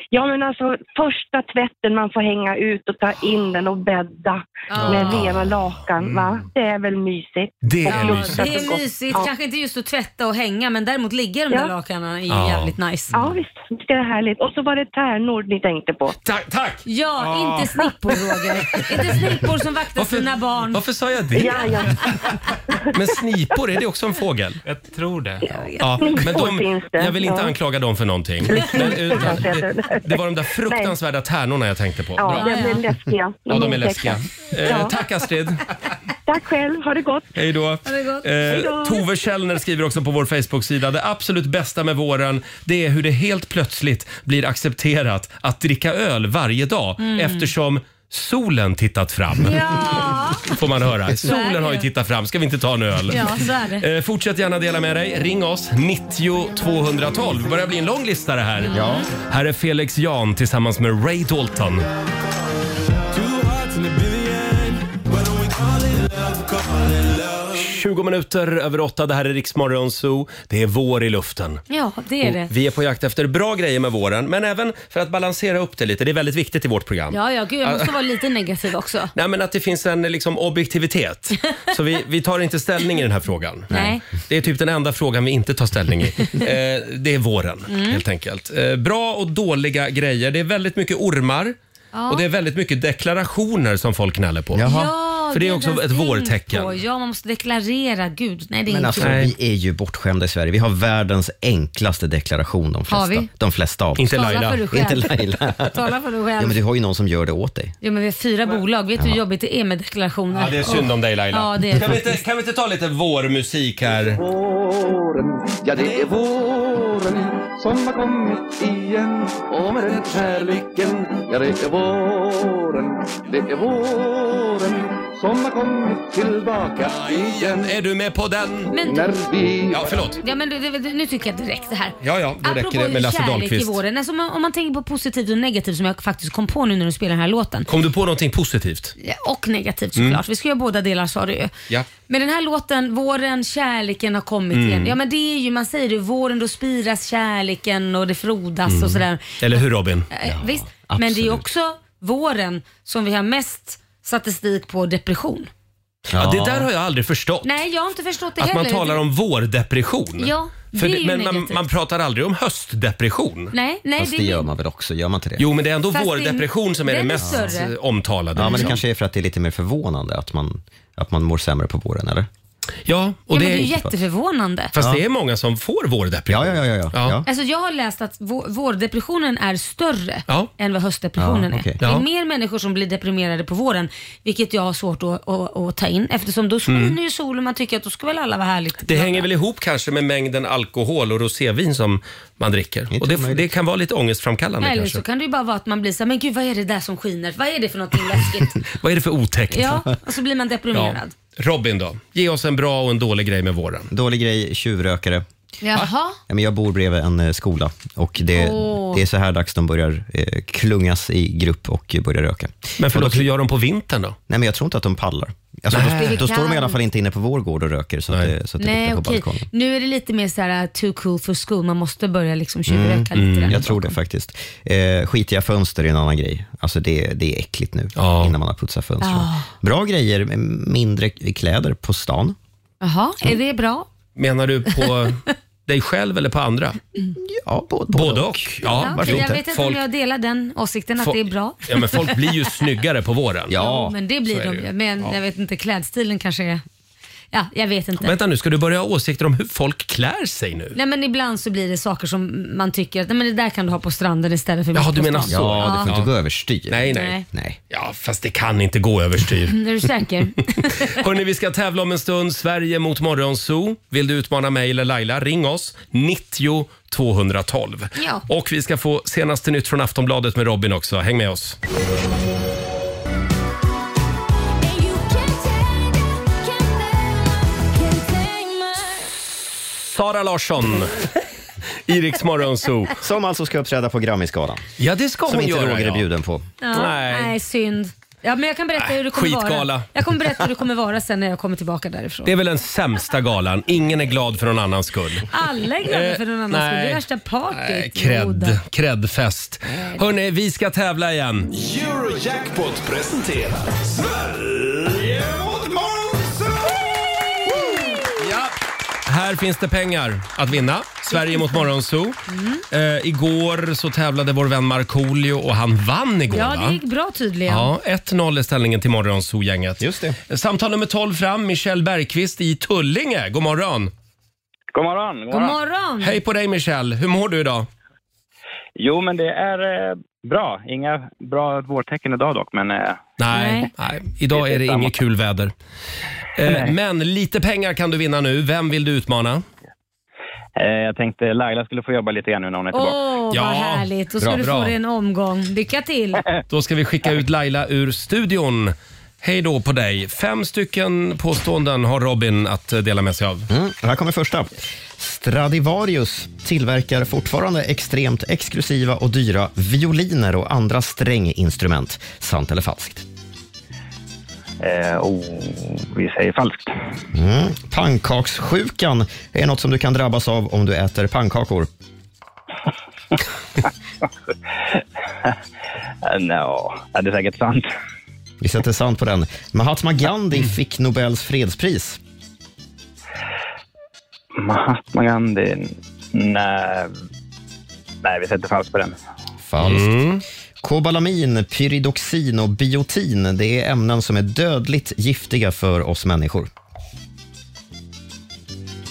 S16: Ja, men alltså första tvätten man får hänga ut och ta in den och bädda
S2: Ja.
S16: med rena lakan, va? Det är väl mysigt?
S1: Mm. Det är
S16: Och
S2: Ja,
S1: mysigt.
S2: det är mysigt. Kanske inte just att tvätta och hänga men däremot ligga i de där lakanen är ju
S1: Ja.
S2: jävligt nice.
S16: Ja, visst. Visst är det härligt. Och så var det tärnor ni tänkte på.
S1: Tack! tack.
S2: Ja,
S1: Ja.
S2: inte snippor Roger. inte snippor som vaktar sina barn.
S1: Varför sa jag det?
S2: Ja, ja.
S1: Men snipor, är det också en fågel? Jag tror det. Ja, men
S16: Snipor
S1: de,
S16: finns det,
S1: jag vill inte
S16: ja.
S1: anklaga dem för någonting. Men, utan, det, det var de där fruktansvärda tärnorna jag tänkte på.
S16: Ja,
S1: Bra.
S16: de är läskiga.
S1: Ja, de är läskiga. Eh,
S16: Ja.
S1: tack Astrid.
S16: Tack själv. Ha det gott.
S1: Hej då.
S16: det gott. Hej
S1: Eh,
S16: då.
S1: Tove Källner skriver också på vår Facebook-sida. Det absolut bästa med våren, det är hur det helt plötsligt blir accepterat att dricka öl varje dag
S2: Mm.
S1: eftersom solen tittat fram.
S2: Ja.
S1: Får man höra.
S2: Så är det.
S1: Solen har ju tittat fram. Ska vi inte ta en öl?
S2: Ja, så är det.
S1: Eh, fortsätt gärna dela med dig. Ring oss, 90 212. Det börjar bli en lång lista det här. Ja. Här är Felix Jan tillsammans med Ray Dalton.
S13: Two hearts in a billion. Why don't we call it love, call it love?
S1: 20 minuter över åtta. Det här är Riksmorgon Zoo. Det är vår i luften.
S2: Ja, det är det.
S1: Och Vi är på jakt efter bra grejer med våren, men även för att balansera upp det lite. Det är väldigt viktigt i vårt program.
S2: Ja, ja, gud jag måste
S1: Ah.
S2: vara lite negativ också.
S1: Nej, men att det finns en liksom, objektivitet. Så vi, vi tar inte ställning i den här frågan.
S2: Nej.
S1: Det är typ den enda frågan vi inte tar ställning i. Eh, det är våren,
S2: Mm.
S1: helt enkelt. Eh, bra och dåliga grejer. Det är väldigt mycket ormar.
S2: Ja.
S1: Och det är väldigt mycket deklarationer som folk gnäller på.
S2: Ja,
S1: För det är
S2: har
S1: också
S2: jag
S1: ett
S2: tänkt
S1: vårtecken.
S2: på. Ja, man måste deklarera. Gud, nej det är
S3: Men
S2: inte
S3: alltså,
S2: kul.
S3: vi är ju bortskämda i Sverige. Vi har världens enklaste deklaration de flesta,
S2: Har vi?
S3: de flesta av oss.
S2: Inte Tala Laila. för dig själv.
S3: Inte Laila.
S2: Tala för dig själv.
S3: Ja, men du har ju någon som gör det åt dig.
S2: Jo, men vi har fyra bolag. Vet du hur jobbigt det är med deklarationer?
S1: Ja, det är synd om dig Laila.
S2: Ja, det är
S1: kan, vi
S2: det.
S1: inte, kan vi inte ta lite vårmusik här?
S12: Ja, det är våren som har kommit igen och med den kärleken. Ja, det är våren, det är våren som har kommit tillbaka igen.
S1: Är du med på den?
S2: Men-
S12: När vi...
S1: Ja, förlåt.
S2: Ja, men du, du, nu tycker jag direkt det här.
S1: Ja, ja, då räcker det med Lasse
S2: kärlek
S1: Dahlqvist.
S2: i våren. Alltså, om, man, om man tänker på positivt och negativt som jag faktiskt kom på nu när du spelar den här låten.
S1: Kom du på någonting positivt?
S2: Ja, Och negativt
S1: Mm.
S2: såklart. Vi ska göra båda delar sa du ju.
S1: Ja.
S2: Men den här låten, våren, kärleken har kommit
S1: Mm.
S2: igen. Ja men det är ju, man säger det, våren då spiras kärleken och det frodas
S1: Mm.
S2: och sådär.
S1: Eller hur Robin?
S2: Eh, Visst, men det är ju också våren som vi har mest statistik på depression.
S1: Ja, det där har jag aldrig förstått.
S2: Nej, jag har inte förstått det
S1: Att
S2: heller.
S1: man talar om vårdepression.
S2: Ja, det
S1: För
S2: är ju
S1: men man,
S2: negativt.
S1: man pratar aldrig om höstdepression.
S2: Nej, nej,
S3: Fast
S2: det
S3: det,
S2: är ju-
S3: gör man väl också? Gör man inte det?
S1: Jo, men det är ändå
S2: Fast
S1: vårdepression som är
S2: den
S1: det
S2: är
S1: mest
S2: större.
S1: eh, omtalade.
S3: Ja, men det
S1: liksom.
S3: kanske är för att det är lite mer förvånande att man, att man mår sämre på våren, eller?
S1: Ja,
S2: ja, men det är ju jätteförvånande.
S1: Fast det är många som får vårdepression.
S3: Ja, ja, ja. ja, ja. ja.
S2: Alltså jag har läst att vår- vårdepressionen är större
S1: Ja.
S2: än vad höstdepressionen
S1: Ja, okej.
S2: är. Det är
S1: Ja.
S2: mer människor som blir deprimerade på våren, vilket jag har svårt att, att, att ta in eftersom då skiner
S1: Mm.
S2: ju solen man tycker att då ska väl alla vara härligt.
S1: Det hänger väl ihop kanske med mängden alkohol och rosévin som man dricker. och det, det kan vara lite ångestframkallande
S2: Eller
S1: kanske.
S2: så kan det ju bara vara att man blir så här, men gud vad är det där som skiner? Vad är det för någonting läskigt?
S1: Vad är det för otäckt?
S2: ja, och så blir man
S1: Ja.
S2: deprimerad.
S1: Robin då? Ge oss en bra och en dålig grej med våren.
S3: Dålig grej, tjuvrökare.
S2: Jaha.
S3: Ja, men jag bor bredvid en eh, skola och det,
S2: Åh.
S3: det är så här dags de börjar eh, klungas i grupp och eh, börjar röka.
S1: Men förlåt, hur gör de på vintern då?
S3: Nej, men jag tror inte att de pallar. Alltså,
S2: Nej.
S3: då, då
S2: Det
S3: står de i alla
S2: kan-
S3: fall inte inne på vår gård och röker så att det, så att det
S2: Nej,
S3: luktar på
S2: okej.
S3: balkongen.
S2: Nu är det lite mer så här too cool for school. Man måste börja
S1: Mm,
S2: liksom tjuvröka lite. där.
S3: jag tror det faktiskt. Eh, skitiga fönster är en annan grej. Alltså det, det är äckligt nu innan man har putsat fönstren.
S2: Ja.
S3: Bra grejer, mindre kläder på stan.
S2: Jaha, är det bra?
S1: Menar du på dig själv eller på andra?
S3: Ja, både,
S1: och.
S2: Ja,
S1: Ja,
S2: okej,
S1: varför
S2: jag
S1: inte?
S2: vet inte
S1: folk,
S2: om jag delar den åsikten att
S1: fo-
S2: det är bra.
S1: Ja, men folk blir ju snyggare på våren.
S2: Jo, men det blir
S1: så är
S2: de
S1: ju.
S2: ju. Men
S1: Ja.
S2: jag vet inte, klädstilen kanske är... Ja, jag vet inte.
S1: Vänta nu, ska du börja ha åsikter om hur folk klär sig nu?
S2: Nej men ibland så blir det saker som man tycker att nej, men det där kan du ha på stranden istället för
S1: Jaha,
S2: mitt
S1: du
S2: på
S1: menar
S2: stan.
S1: så?
S3: gå överstyr.
S1: Nej,
S2: Nej.
S1: nej. nej. Ja, fast det kan inte gå överstyr.
S2: Mm, Är du säker?
S1: Hörni, vi ska tävla om en stund. Sverige mot Morgonzoo. Vill du utmana mig eller Laila, ring oss. 90 212.
S2: Ja.
S1: Och vi ska få senaste nytt från Aftonbladet med Robin också. Häng med oss. Sara Larsson. I Riks Morgonzoo.
S3: Som alltså ska uppträda på Grammisgalan.
S1: Ja, det ska
S3: Som
S1: hon
S3: inte
S1: göra,
S3: Roger är
S1: ja.
S3: bjuden på.
S2: Ja, nej. synd. Ja, men jag kan berätta hur du kommer
S1: skitgala.
S2: vara. Jag kommer berätta hur du kommer vara sen när jag kommer tillbaka därifrån.
S1: Det är väl den sämsta galan. Ingen är glad för någon annans skull.
S2: Alla är glada för någon annan skull. Det är
S1: Eh, nej.
S2: värsta
S1: Nej,
S2: partyt.
S1: Cred, credfest. Hörni, vi ska tävla igen.
S4: Eurojackpot presenterar Sverige mot
S1: Ja. Här finns det pengar att vinna. Sverige mot Morgonzoo.
S2: Mm.
S1: Eh, igår så tävlade vår vän Markoolio och han vann igår
S2: Ja,
S1: va?
S2: det gick bra tydligen.
S1: Ja, 1-0 är ställningen till Morgonzoo-gänget. Just det. Samtal nummer 12 fram, Michelle Bergqvist i Tullinge. God morgon!
S17: God morgon, god
S2: God morgon!
S1: Hej på dig Michelle, hur mår du idag?
S17: Jo, men det är eh, bra. Inga bra vårtecken idag dock, men... Eh,
S1: Nej, nej. idag är det
S17: samma.
S1: inget kul väder. Eh, men lite pengar kan du vinna nu. Vem vill du utmana?
S17: eh, jag tänkte Laila skulle få jobba lite grann nu när hon är
S2: Åh,
S17: tillbaka.
S2: vad härligt. Då ska
S1: bra,
S2: du få
S1: bra.
S2: dig en omgång. Lycka till!
S1: Då ska vi skicka ut Laila ur studion. Hej då på dig. Fem stycken påståenden har Robin att eh, dela med sig av.
S3: Mm, här kommer första. Stradivarius tillverkar fortfarande extremt exklusiva och dyra violiner och andra stränginstrument. Sant eller falskt?
S17: Eh, oh, vi säger falskt.
S3: Mm. Pannkakssjukan är något som du kan drabbas av om du äter pannkakor.
S17: Eh, Nja, ja, det är säkert sant.
S3: Vi sätter sant på den. Mahatma Gandhi fick Nobels fredspris.
S17: Mahatma Gandhi... Nej, nej vi sätter falskt på den.
S3: Falskt.
S1: Mm.
S3: Kobalamin, pyridoxin och biotin det är ämnen som är dödligt giftiga för oss människor.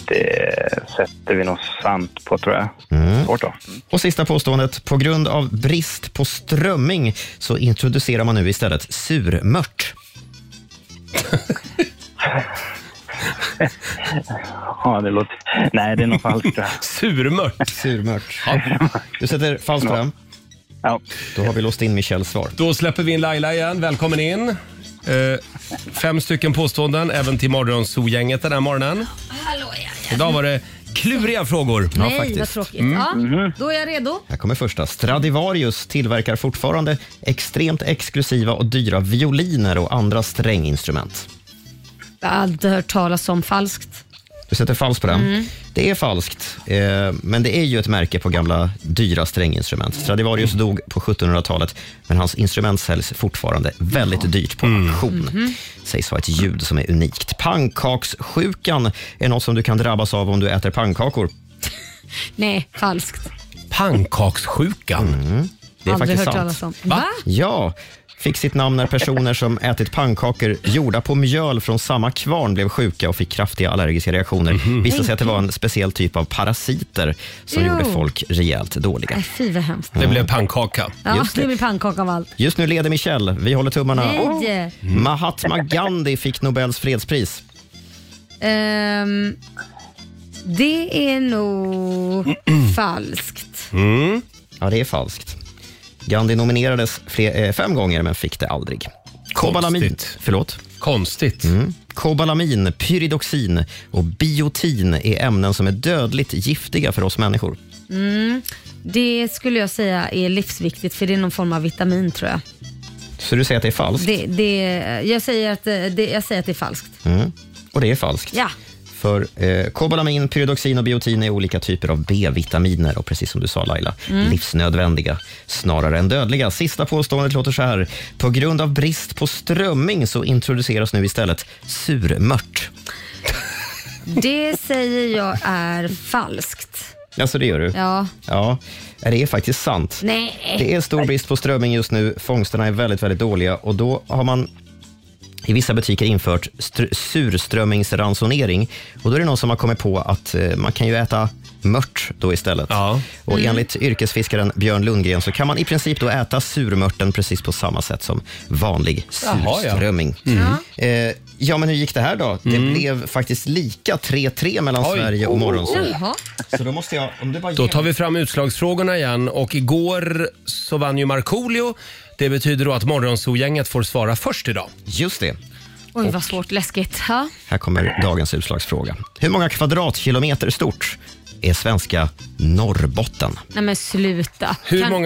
S17: Det sätter vi nog sant på, tror jag.
S3: Mm.
S17: Svårt då.
S3: Och sista påståendet. På grund av brist på strömming så introducerar man nu istället surmört.
S17: Ja, det låter... Nej, det är nog falskt. tror jag.
S1: Surmört.
S3: Surmört. Du sätter falskt på den?
S17: Ja.
S3: Då har vi låst in Michels svar.
S1: Då släpper vi in Laila igen. Välkommen in. Eh, fem stycken påståenden även till Morgonzoo-gänget den här morgonen.
S2: Hallå ja.
S1: Idag var det kluriga frågor.
S2: Nej, vad tråkigt.
S1: Mm.
S2: Ja, då är jag redo.
S3: Här kommer första. Stradivarius tillverkar fortfarande extremt exklusiva och dyra violiner och andra stränginstrument.
S2: Jag har aldrig hört talas om falskt.
S3: Du sätter falskt på den.
S2: Mm.
S3: Det är falskt, eh, men det är ju ett märke på gamla dyra stränginstrument. Stradivarius
S2: Mm.
S3: dog på 1700-talet, men hans instrument säljs fortfarande väldigt dyrt på
S2: Mm.
S3: auktion.
S2: Mhm.
S3: Sägs vara ett ljud som är unikt. Pannkakssjukan är något som du kan drabbas av om du äter pannkakor.
S2: Nej, falskt.
S1: Pannkakssjukan?
S3: Det är
S2: aldrig
S3: faktiskt
S2: hört
S3: sant.
S2: talas om. Va?
S3: Ja, fick sitt namn när personer som ätit pannkakor gjorda på mjöl från samma kvarn blev sjuka och fick kraftiga allergiska reaktioner. Visade sig att det var en speciell typ av parasiter som
S2: Mhm. Jo.
S3: gjorde folk rejält dåliga.
S2: Nej, fy vad hemskt.
S1: Det blev pannkaka.
S2: Ja,
S3: Just
S2: det
S3: det.
S2: blir pannkaka av allt.
S3: Just nu leder Michelle. Vi håller tummarna. Oh.
S2: Nej.
S3: Mahatma Gandhi fick Nobels fredspris.
S2: Ehm, det är nog falskt.
S3: Ja, det är falskt. Gandhi nominerades fler, eh, fem gånger men fick det aldrig. Kobalamin. Förlåt?
S1: Konstigt.
S3: Mm. Kobalamin, pyridoxin och biotin är ämnen som är dödligt giftiga för oss människor.
S2: Mm. Det skulle jag säga är livsviktigt för det är någon form av vitamin tror jag.
S3: Så du säger att det är falskt?
S2: Det, det, jag, säger att, eh, det, jag säger att det är falskt.
S3: Mm. Och det är falskt.
S2: Ja.
S3: För eh, kobalamin, pyridoxin och biotin är olika typer av B-vitaminer och precis som du sa Laila,
S2: Mm.
S3: livsnödvändiga snarare än dödliga. Sista påståendet låter så här. På grund av brist på strömming så introduceras nu istället surmört.
S2: Det säger jag är falskt.
S3: Alltså det gör du?
S2: Ja.
S3: Ja, det är faktiskt sant.
S2: Nej.
S3: Det är stor brist på strömming just nu. Fångsterna är väldigt, väldigt dåliga och då har man i vissa butiker infört str- surströmmingsransonering. Och då är det någon som har kommit på att eh, man kan ju äta mört då istället. Och
S2: Mm.
S3: enligt yrkesfiskaren Björn Lundgren så kan man i princip då äta surmörten precis på samma sätt som vanlig
S1: Jaha, ja.
S3: surströmming.
S1: Mm.
S3: Eh, ja, men hur gick det här då? Det blev faktiskt lika 3-3 mellan
S1: Oj. Oh.
S3: Sverige och Morgonsol.
S2: Jaha.
S3: Så då måste jag, om du bara
S1: Då tar vi fram utslagsfrågorna igen och igår så vann ju Markoolio. Det betyder då att Morgonzoo-gänget får svara först idag.
S3: Just det.
S2: Oj, vad svårt. Läskigt. Ha?
S3: Här kommer dagens utslagsfråga. Hur många kvadratkilometer stort är svenska Norrbotten?
S2: Nej men sluta. kan,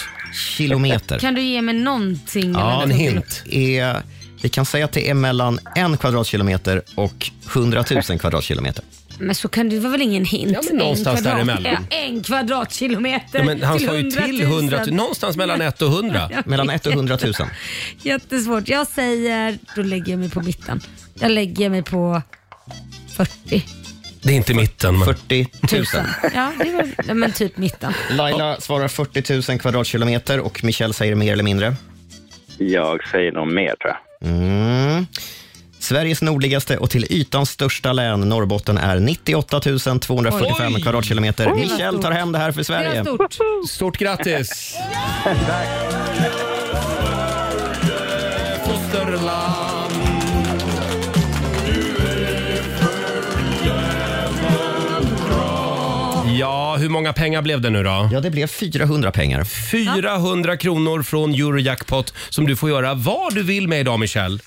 S3: kvadratkilometer?
S2: Kan du ge mig någonting? eller
S3: Ja, en
S2: någonting?
S3: hint. Är, vi kan säga att det är mellan en kvadratkilometer och 100 000 kvadratkilometer.
S2: Men så kan du, det var väl ingen hint?
S1: Ja, men någonstans
S2: en kvadrat-
S1: däremellan.
S2: Ja, En kvadratkilometer
S1: Ja, men han
S2: till
S1: sa ju
S2: 100 000.
S1: till 100 000. Någonstans mellan 1 och 100.
S3: Mellan 1 och 100 000.
S2: Jättesvårt. Jag säger, då lägger jag mig på mitten. Jag lägger mig på 40
S1: Det är inte mitten. Men...
S3: 40 000.
S2: Ja, det var, ja, men typ mitten.
S3: Laila svarar 40 000 kvadratkilometer och Michel säger mer eller mindre.
S17: Jag säger nog mer tror jag.
S3: Mm. Sveriges nordligaste och till ytan största län, Norrbotten, är 98 245
S1: Oj.
S3: kvadratkilometer.
S1: Oj.
S3: Michel tar hem det här för Sverige.
S1: Stort grattis! Fosterland. Ja, hur många pengar blev det nu då?
S3: Ja, det blev 400 pengar.
S1: 400 kronor från Eurojackpot som du får göra vad du vill med idag, Michel.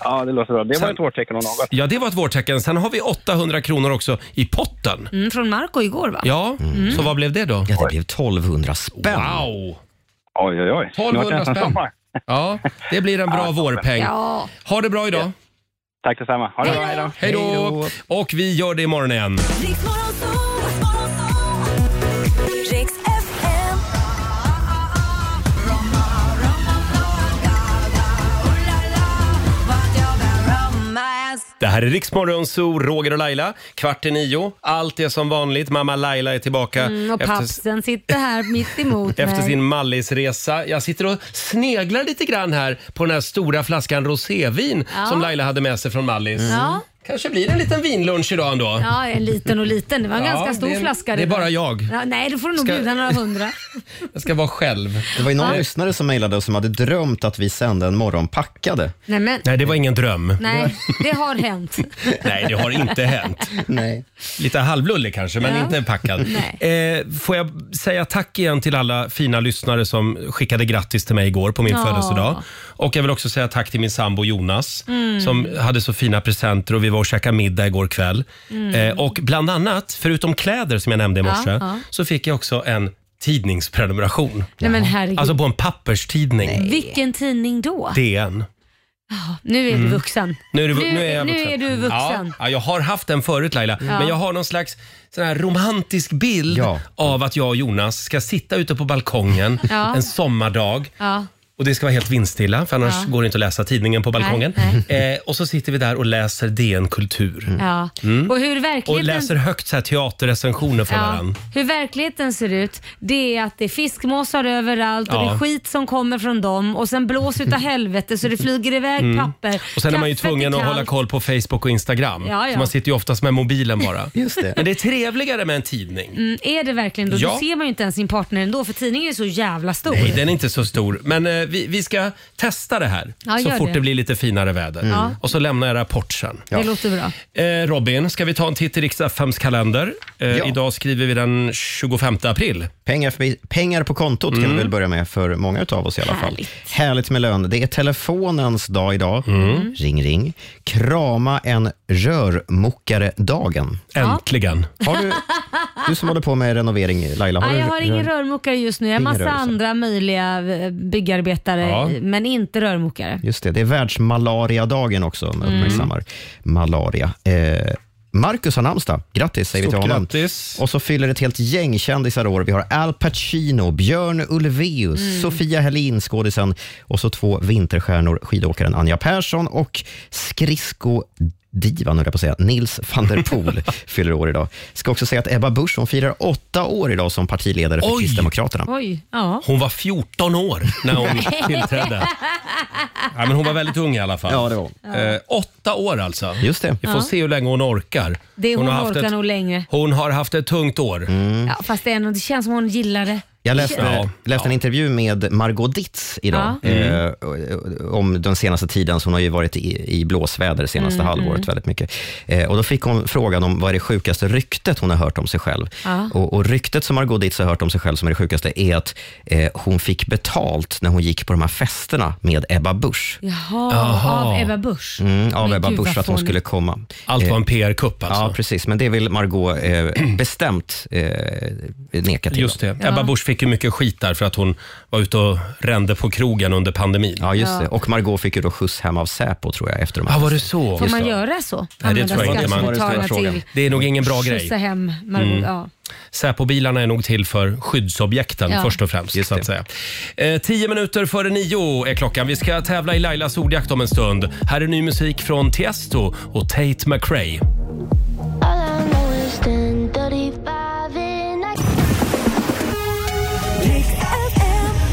S17: Ja, det låter bra. Det var
S1: Sen-
S17: ett vårtecken om något.
S1: Ja, det var ett vårtecken. Sen har vi 800 kronor också i potten.
S2: Mm, från Marco igår va?
S1: Ja,
S2: Mm.
S1: så vad blev det då?
S3: Ja, det blev 1200 spänn.
S1: Wow!
S17: Oj, oj, oj.
S1: 1200 spänn. Ja, det blir en bra vårpeng.
S2: Ja.
S1: Ha det bra idag.
S17: Tack detsamma. Ha det bra. Hej då.
S1: Hej då! Och vi gör det imorgon igen.
S7: oh Riks FM.
S1: Det här är Riksmorgon Zoo, Roger och Laila. Kvart i nio. Allt är som vanligt. Mamma Laila är tillbaka
S2: Mm, och
S1: efter,
S2: pappsen sitter här mitt emot
S1: efter
S2: mig.
S1: sin Mallisresa. Jag sitter och sneglar lite grann här på den här stora flaskan rosévin
S2: Ja.
S1: som Laila hade med sig från Mallis.
S2: Ja.
S1: Kanske blir det en liten vinlunch idag ändå.
S2: Ja, en liten och liten. Det var en
S1: Ja,
S2: ganska stor
S1: det är-
S2: flaska.
S1: det är
S2: där.
S1: bara jag.
S2: Ja, nej, du får du nog
S1: Ska-
S2: bjuda några hundra.
S1: Jag ska vara själv.
S3: Det var ju någon
S2: Ja.
S3: lyssnare som mejlade och som hade drömt att vi sände en morgon packade.
S2: Nej, men,
S1: Nej, det var ingen dröm.
S2: nej, det har hänt.
S1: Nej, det har inte hänt.
S3: Nej.
S1: Lite halvlullig kanske, men
S2: Ja.
S1: inte packad. Eh, får jag säga tack igen till alla fina lyssnare som skickade grattis till mig igår på min
S2: Ja.
S1: födelsedag. Och jag vill också säga tack till min sambo Jonas
S14: Mm.
S1: som hade så fina presenter och vi var och käkade middag igår kväll.
S14: Mm.
S1: Eh, och bland annat, förutom kläder som jag nämnde i
S2: Ja,
S1: morse,
S2: ja.
S1: så fick jag också en tidningsprenumeration.
S2: Nej, men herregud.
S1: Alltså på en papperstidning.
S2: Vilken tidning då?
S1: DN.
S2: Ja, nu är du
S1: Mm.
S2: vuxen.
S1: Nu är, du,
S2: nu,
S1: nu är jag vuxen.
S2: nu är du vuxen.
S1: Ja, ja, jag har haft den förut Laila,
S2: Ja.
S1: men jag har någon slags sån här romantisk bild av att jag och Jonas ska sitta ute på balkongen
S2: Ja.
S1: en sommardag.
S2: Ja.
S1: Och det ska vara helt vindstilla, för annars
S2: Ja.
S1: går det inte att läsa tidningen på
S2: Nej,
S1: balkongen.
S2: nej.
S1: Eh, och så sitter vi där och läser DN Kultur.
S2: Ja.
S1: Mm.
S2: Och hur verkligheten...
S1: Och läser högt så här teaterrecensioner från varandra.
S2: Hur verkligheten ser ut, det är att det är fiskmåsar överallt och
S1: Ja.
S2: det är skit som kommer från dem och sen blås utav helvete så det flyger iväg
S1: Mm.
S2: papper.
S1: Och sen är man ju
S2: Kaffet
S1: tvungen att
S2: kallt.
S1: hålla koll på Facebook och Instagram.
S2: Ja, ja.
S1: Så man sitter ju oftast med mobilen bara.
S3: Just det.
S1: Men det är trevligare med en tidning.
S2: Mm, är det verkligen då?
S1: Ja.
S2: Då ser man ju inte ens sin partner ändå för tidningen är så jävla stor.
S1: Nej, den är inte så stor. Men eh, vi, vi ska testa det här
S2: Ja,
S1: så
S2: gör
S1: fort det.
S2: det.
S1: blir lite finare väder.
S2: Mm. Ja.
S1: Och så lämnar jag rapport sen.
S2: Det låter bra.
S1: Eh, Robin, ska vi ta en titt i riksdagsfems kalender? Eh, Idag skriver vi den 25 april.
S3: Pengar, förbi- pengar på kontot kan vi väl börja med för många av oss i alla fall. Härligt med lön. Det är telefonens dag idag. Ring, ring. Krama en rörmokare-dagen.
S1: Äntligen.
S3: Har du, du som håller på med renovering, Laila. Har
S2: Nej,
S3: du
S2: jag har ingen
S3: rör-
S2: rörmokare just nu. Jag har
S3: Ingen
S2: massa
S3: rörelse.
S2: andra möjliga eh, byggarbetare,
S3: Ja.
S2: men inte rörmokare.
S3: Just det, det är världsmalariadagen också om jag
S2: Mm.
S3: uppmärksammar malaria. Eh, Marcus har namnsdag. Grattis säger vi
S1: Stort
S3: till honom. Och så fyller ett helt gäng kändisar år. Vi har Al Pacino, Björn Ulvaeus,
S1: Mm.
S3: Sofia Helin, skådisen och så två vinterstjärnor, skidåkaren Anja Persson och skridskodivan, höll jag på att säga, Nils van der Poel fyller år idag. Ska också säga att Ebba Busch hon firar åtta år idag som partiledare för
S1: Oj.
S3: Kristdemokraterna.
S2: Oj, ja.
S1: Hon var 14 år när hon tillträdde. Ja, men hon var väldigt ung i alla fall.
S3: Ja, det var
S2: hon.
S1: Eh, åtta år alltså.
S3: Just det.
S1: Vi får
S2: Ja.
S1: se hur länge hon orkar.
S2: Det hon,
S1: haft
S2: orkar
S1: ett,
S2: nog längre.
S1: hon har haft ett tungt år.
S3: Mm.
S2: Ja, fast det, är ändå, det känns som hon gillar det.
S3: Jag läste,
S1: Ja.
S3: läste en intervju med Margot Ditz idag
S2: Ja. Mm.
S3: eh, och- och- om den senaste tiden, så hon har ju varit i, i blåsväder senaste
S2: Mm,
S3: halvåret
S2: mm.
S3: väldigt mycket. Eh, och Då fick hon frågan om vad är det sjukaste ryktet hon har hört om sig själv.
S2: Ja.
S3: Och, och Ryktet som Margot Ditz har hört om sig själv som är det sjukaste är att eh, hon fick betalt när hon gick på de här festerna med Ebba Busch.
S2: Jaha,
S3: Jaha.
S2: av Ebba Busch.
S3: Mm, av
S2: Men
S3: Ebba
S2: gud, vad
S3: Busch för att hon
S2: fånigt.
S3: skulle komma. Eh,
S1: Allt var en PR-kupp alltså.
S3: Mm. Ja, precis. Men det vill Margot eh, bestämt eh, neka till.
S1: Just det. Ebba Busch fick ju mycket skit där för att hon var ute och rände på krogen under pandemin.
S3: Ja, just
S2: Ja.
S3: det. Och Margot fick ju då skjuts hem av Säpo tror jag efter de
S1: Ja, Ah, var det så?
S2: Får man göra så?
S1: Nej, det
S2: Använda
S1: tror jag inte man.
S2: skattebetalarna till
S1: Det är nog ingen bra
S2: skjutsa
S1: grej.
S2: hem Margot.
S1: Mm.
S2: Ja.
S1: Säpobilarna är nog till för skyddsobjekten
S2: Ja.
S1: först och främst. så att säga. Eh, tio minuter före nio är klockan. Vi ska tävla i Lailas ordjakt om en stund. Här är ny musik från Tiesto och Tate McRae.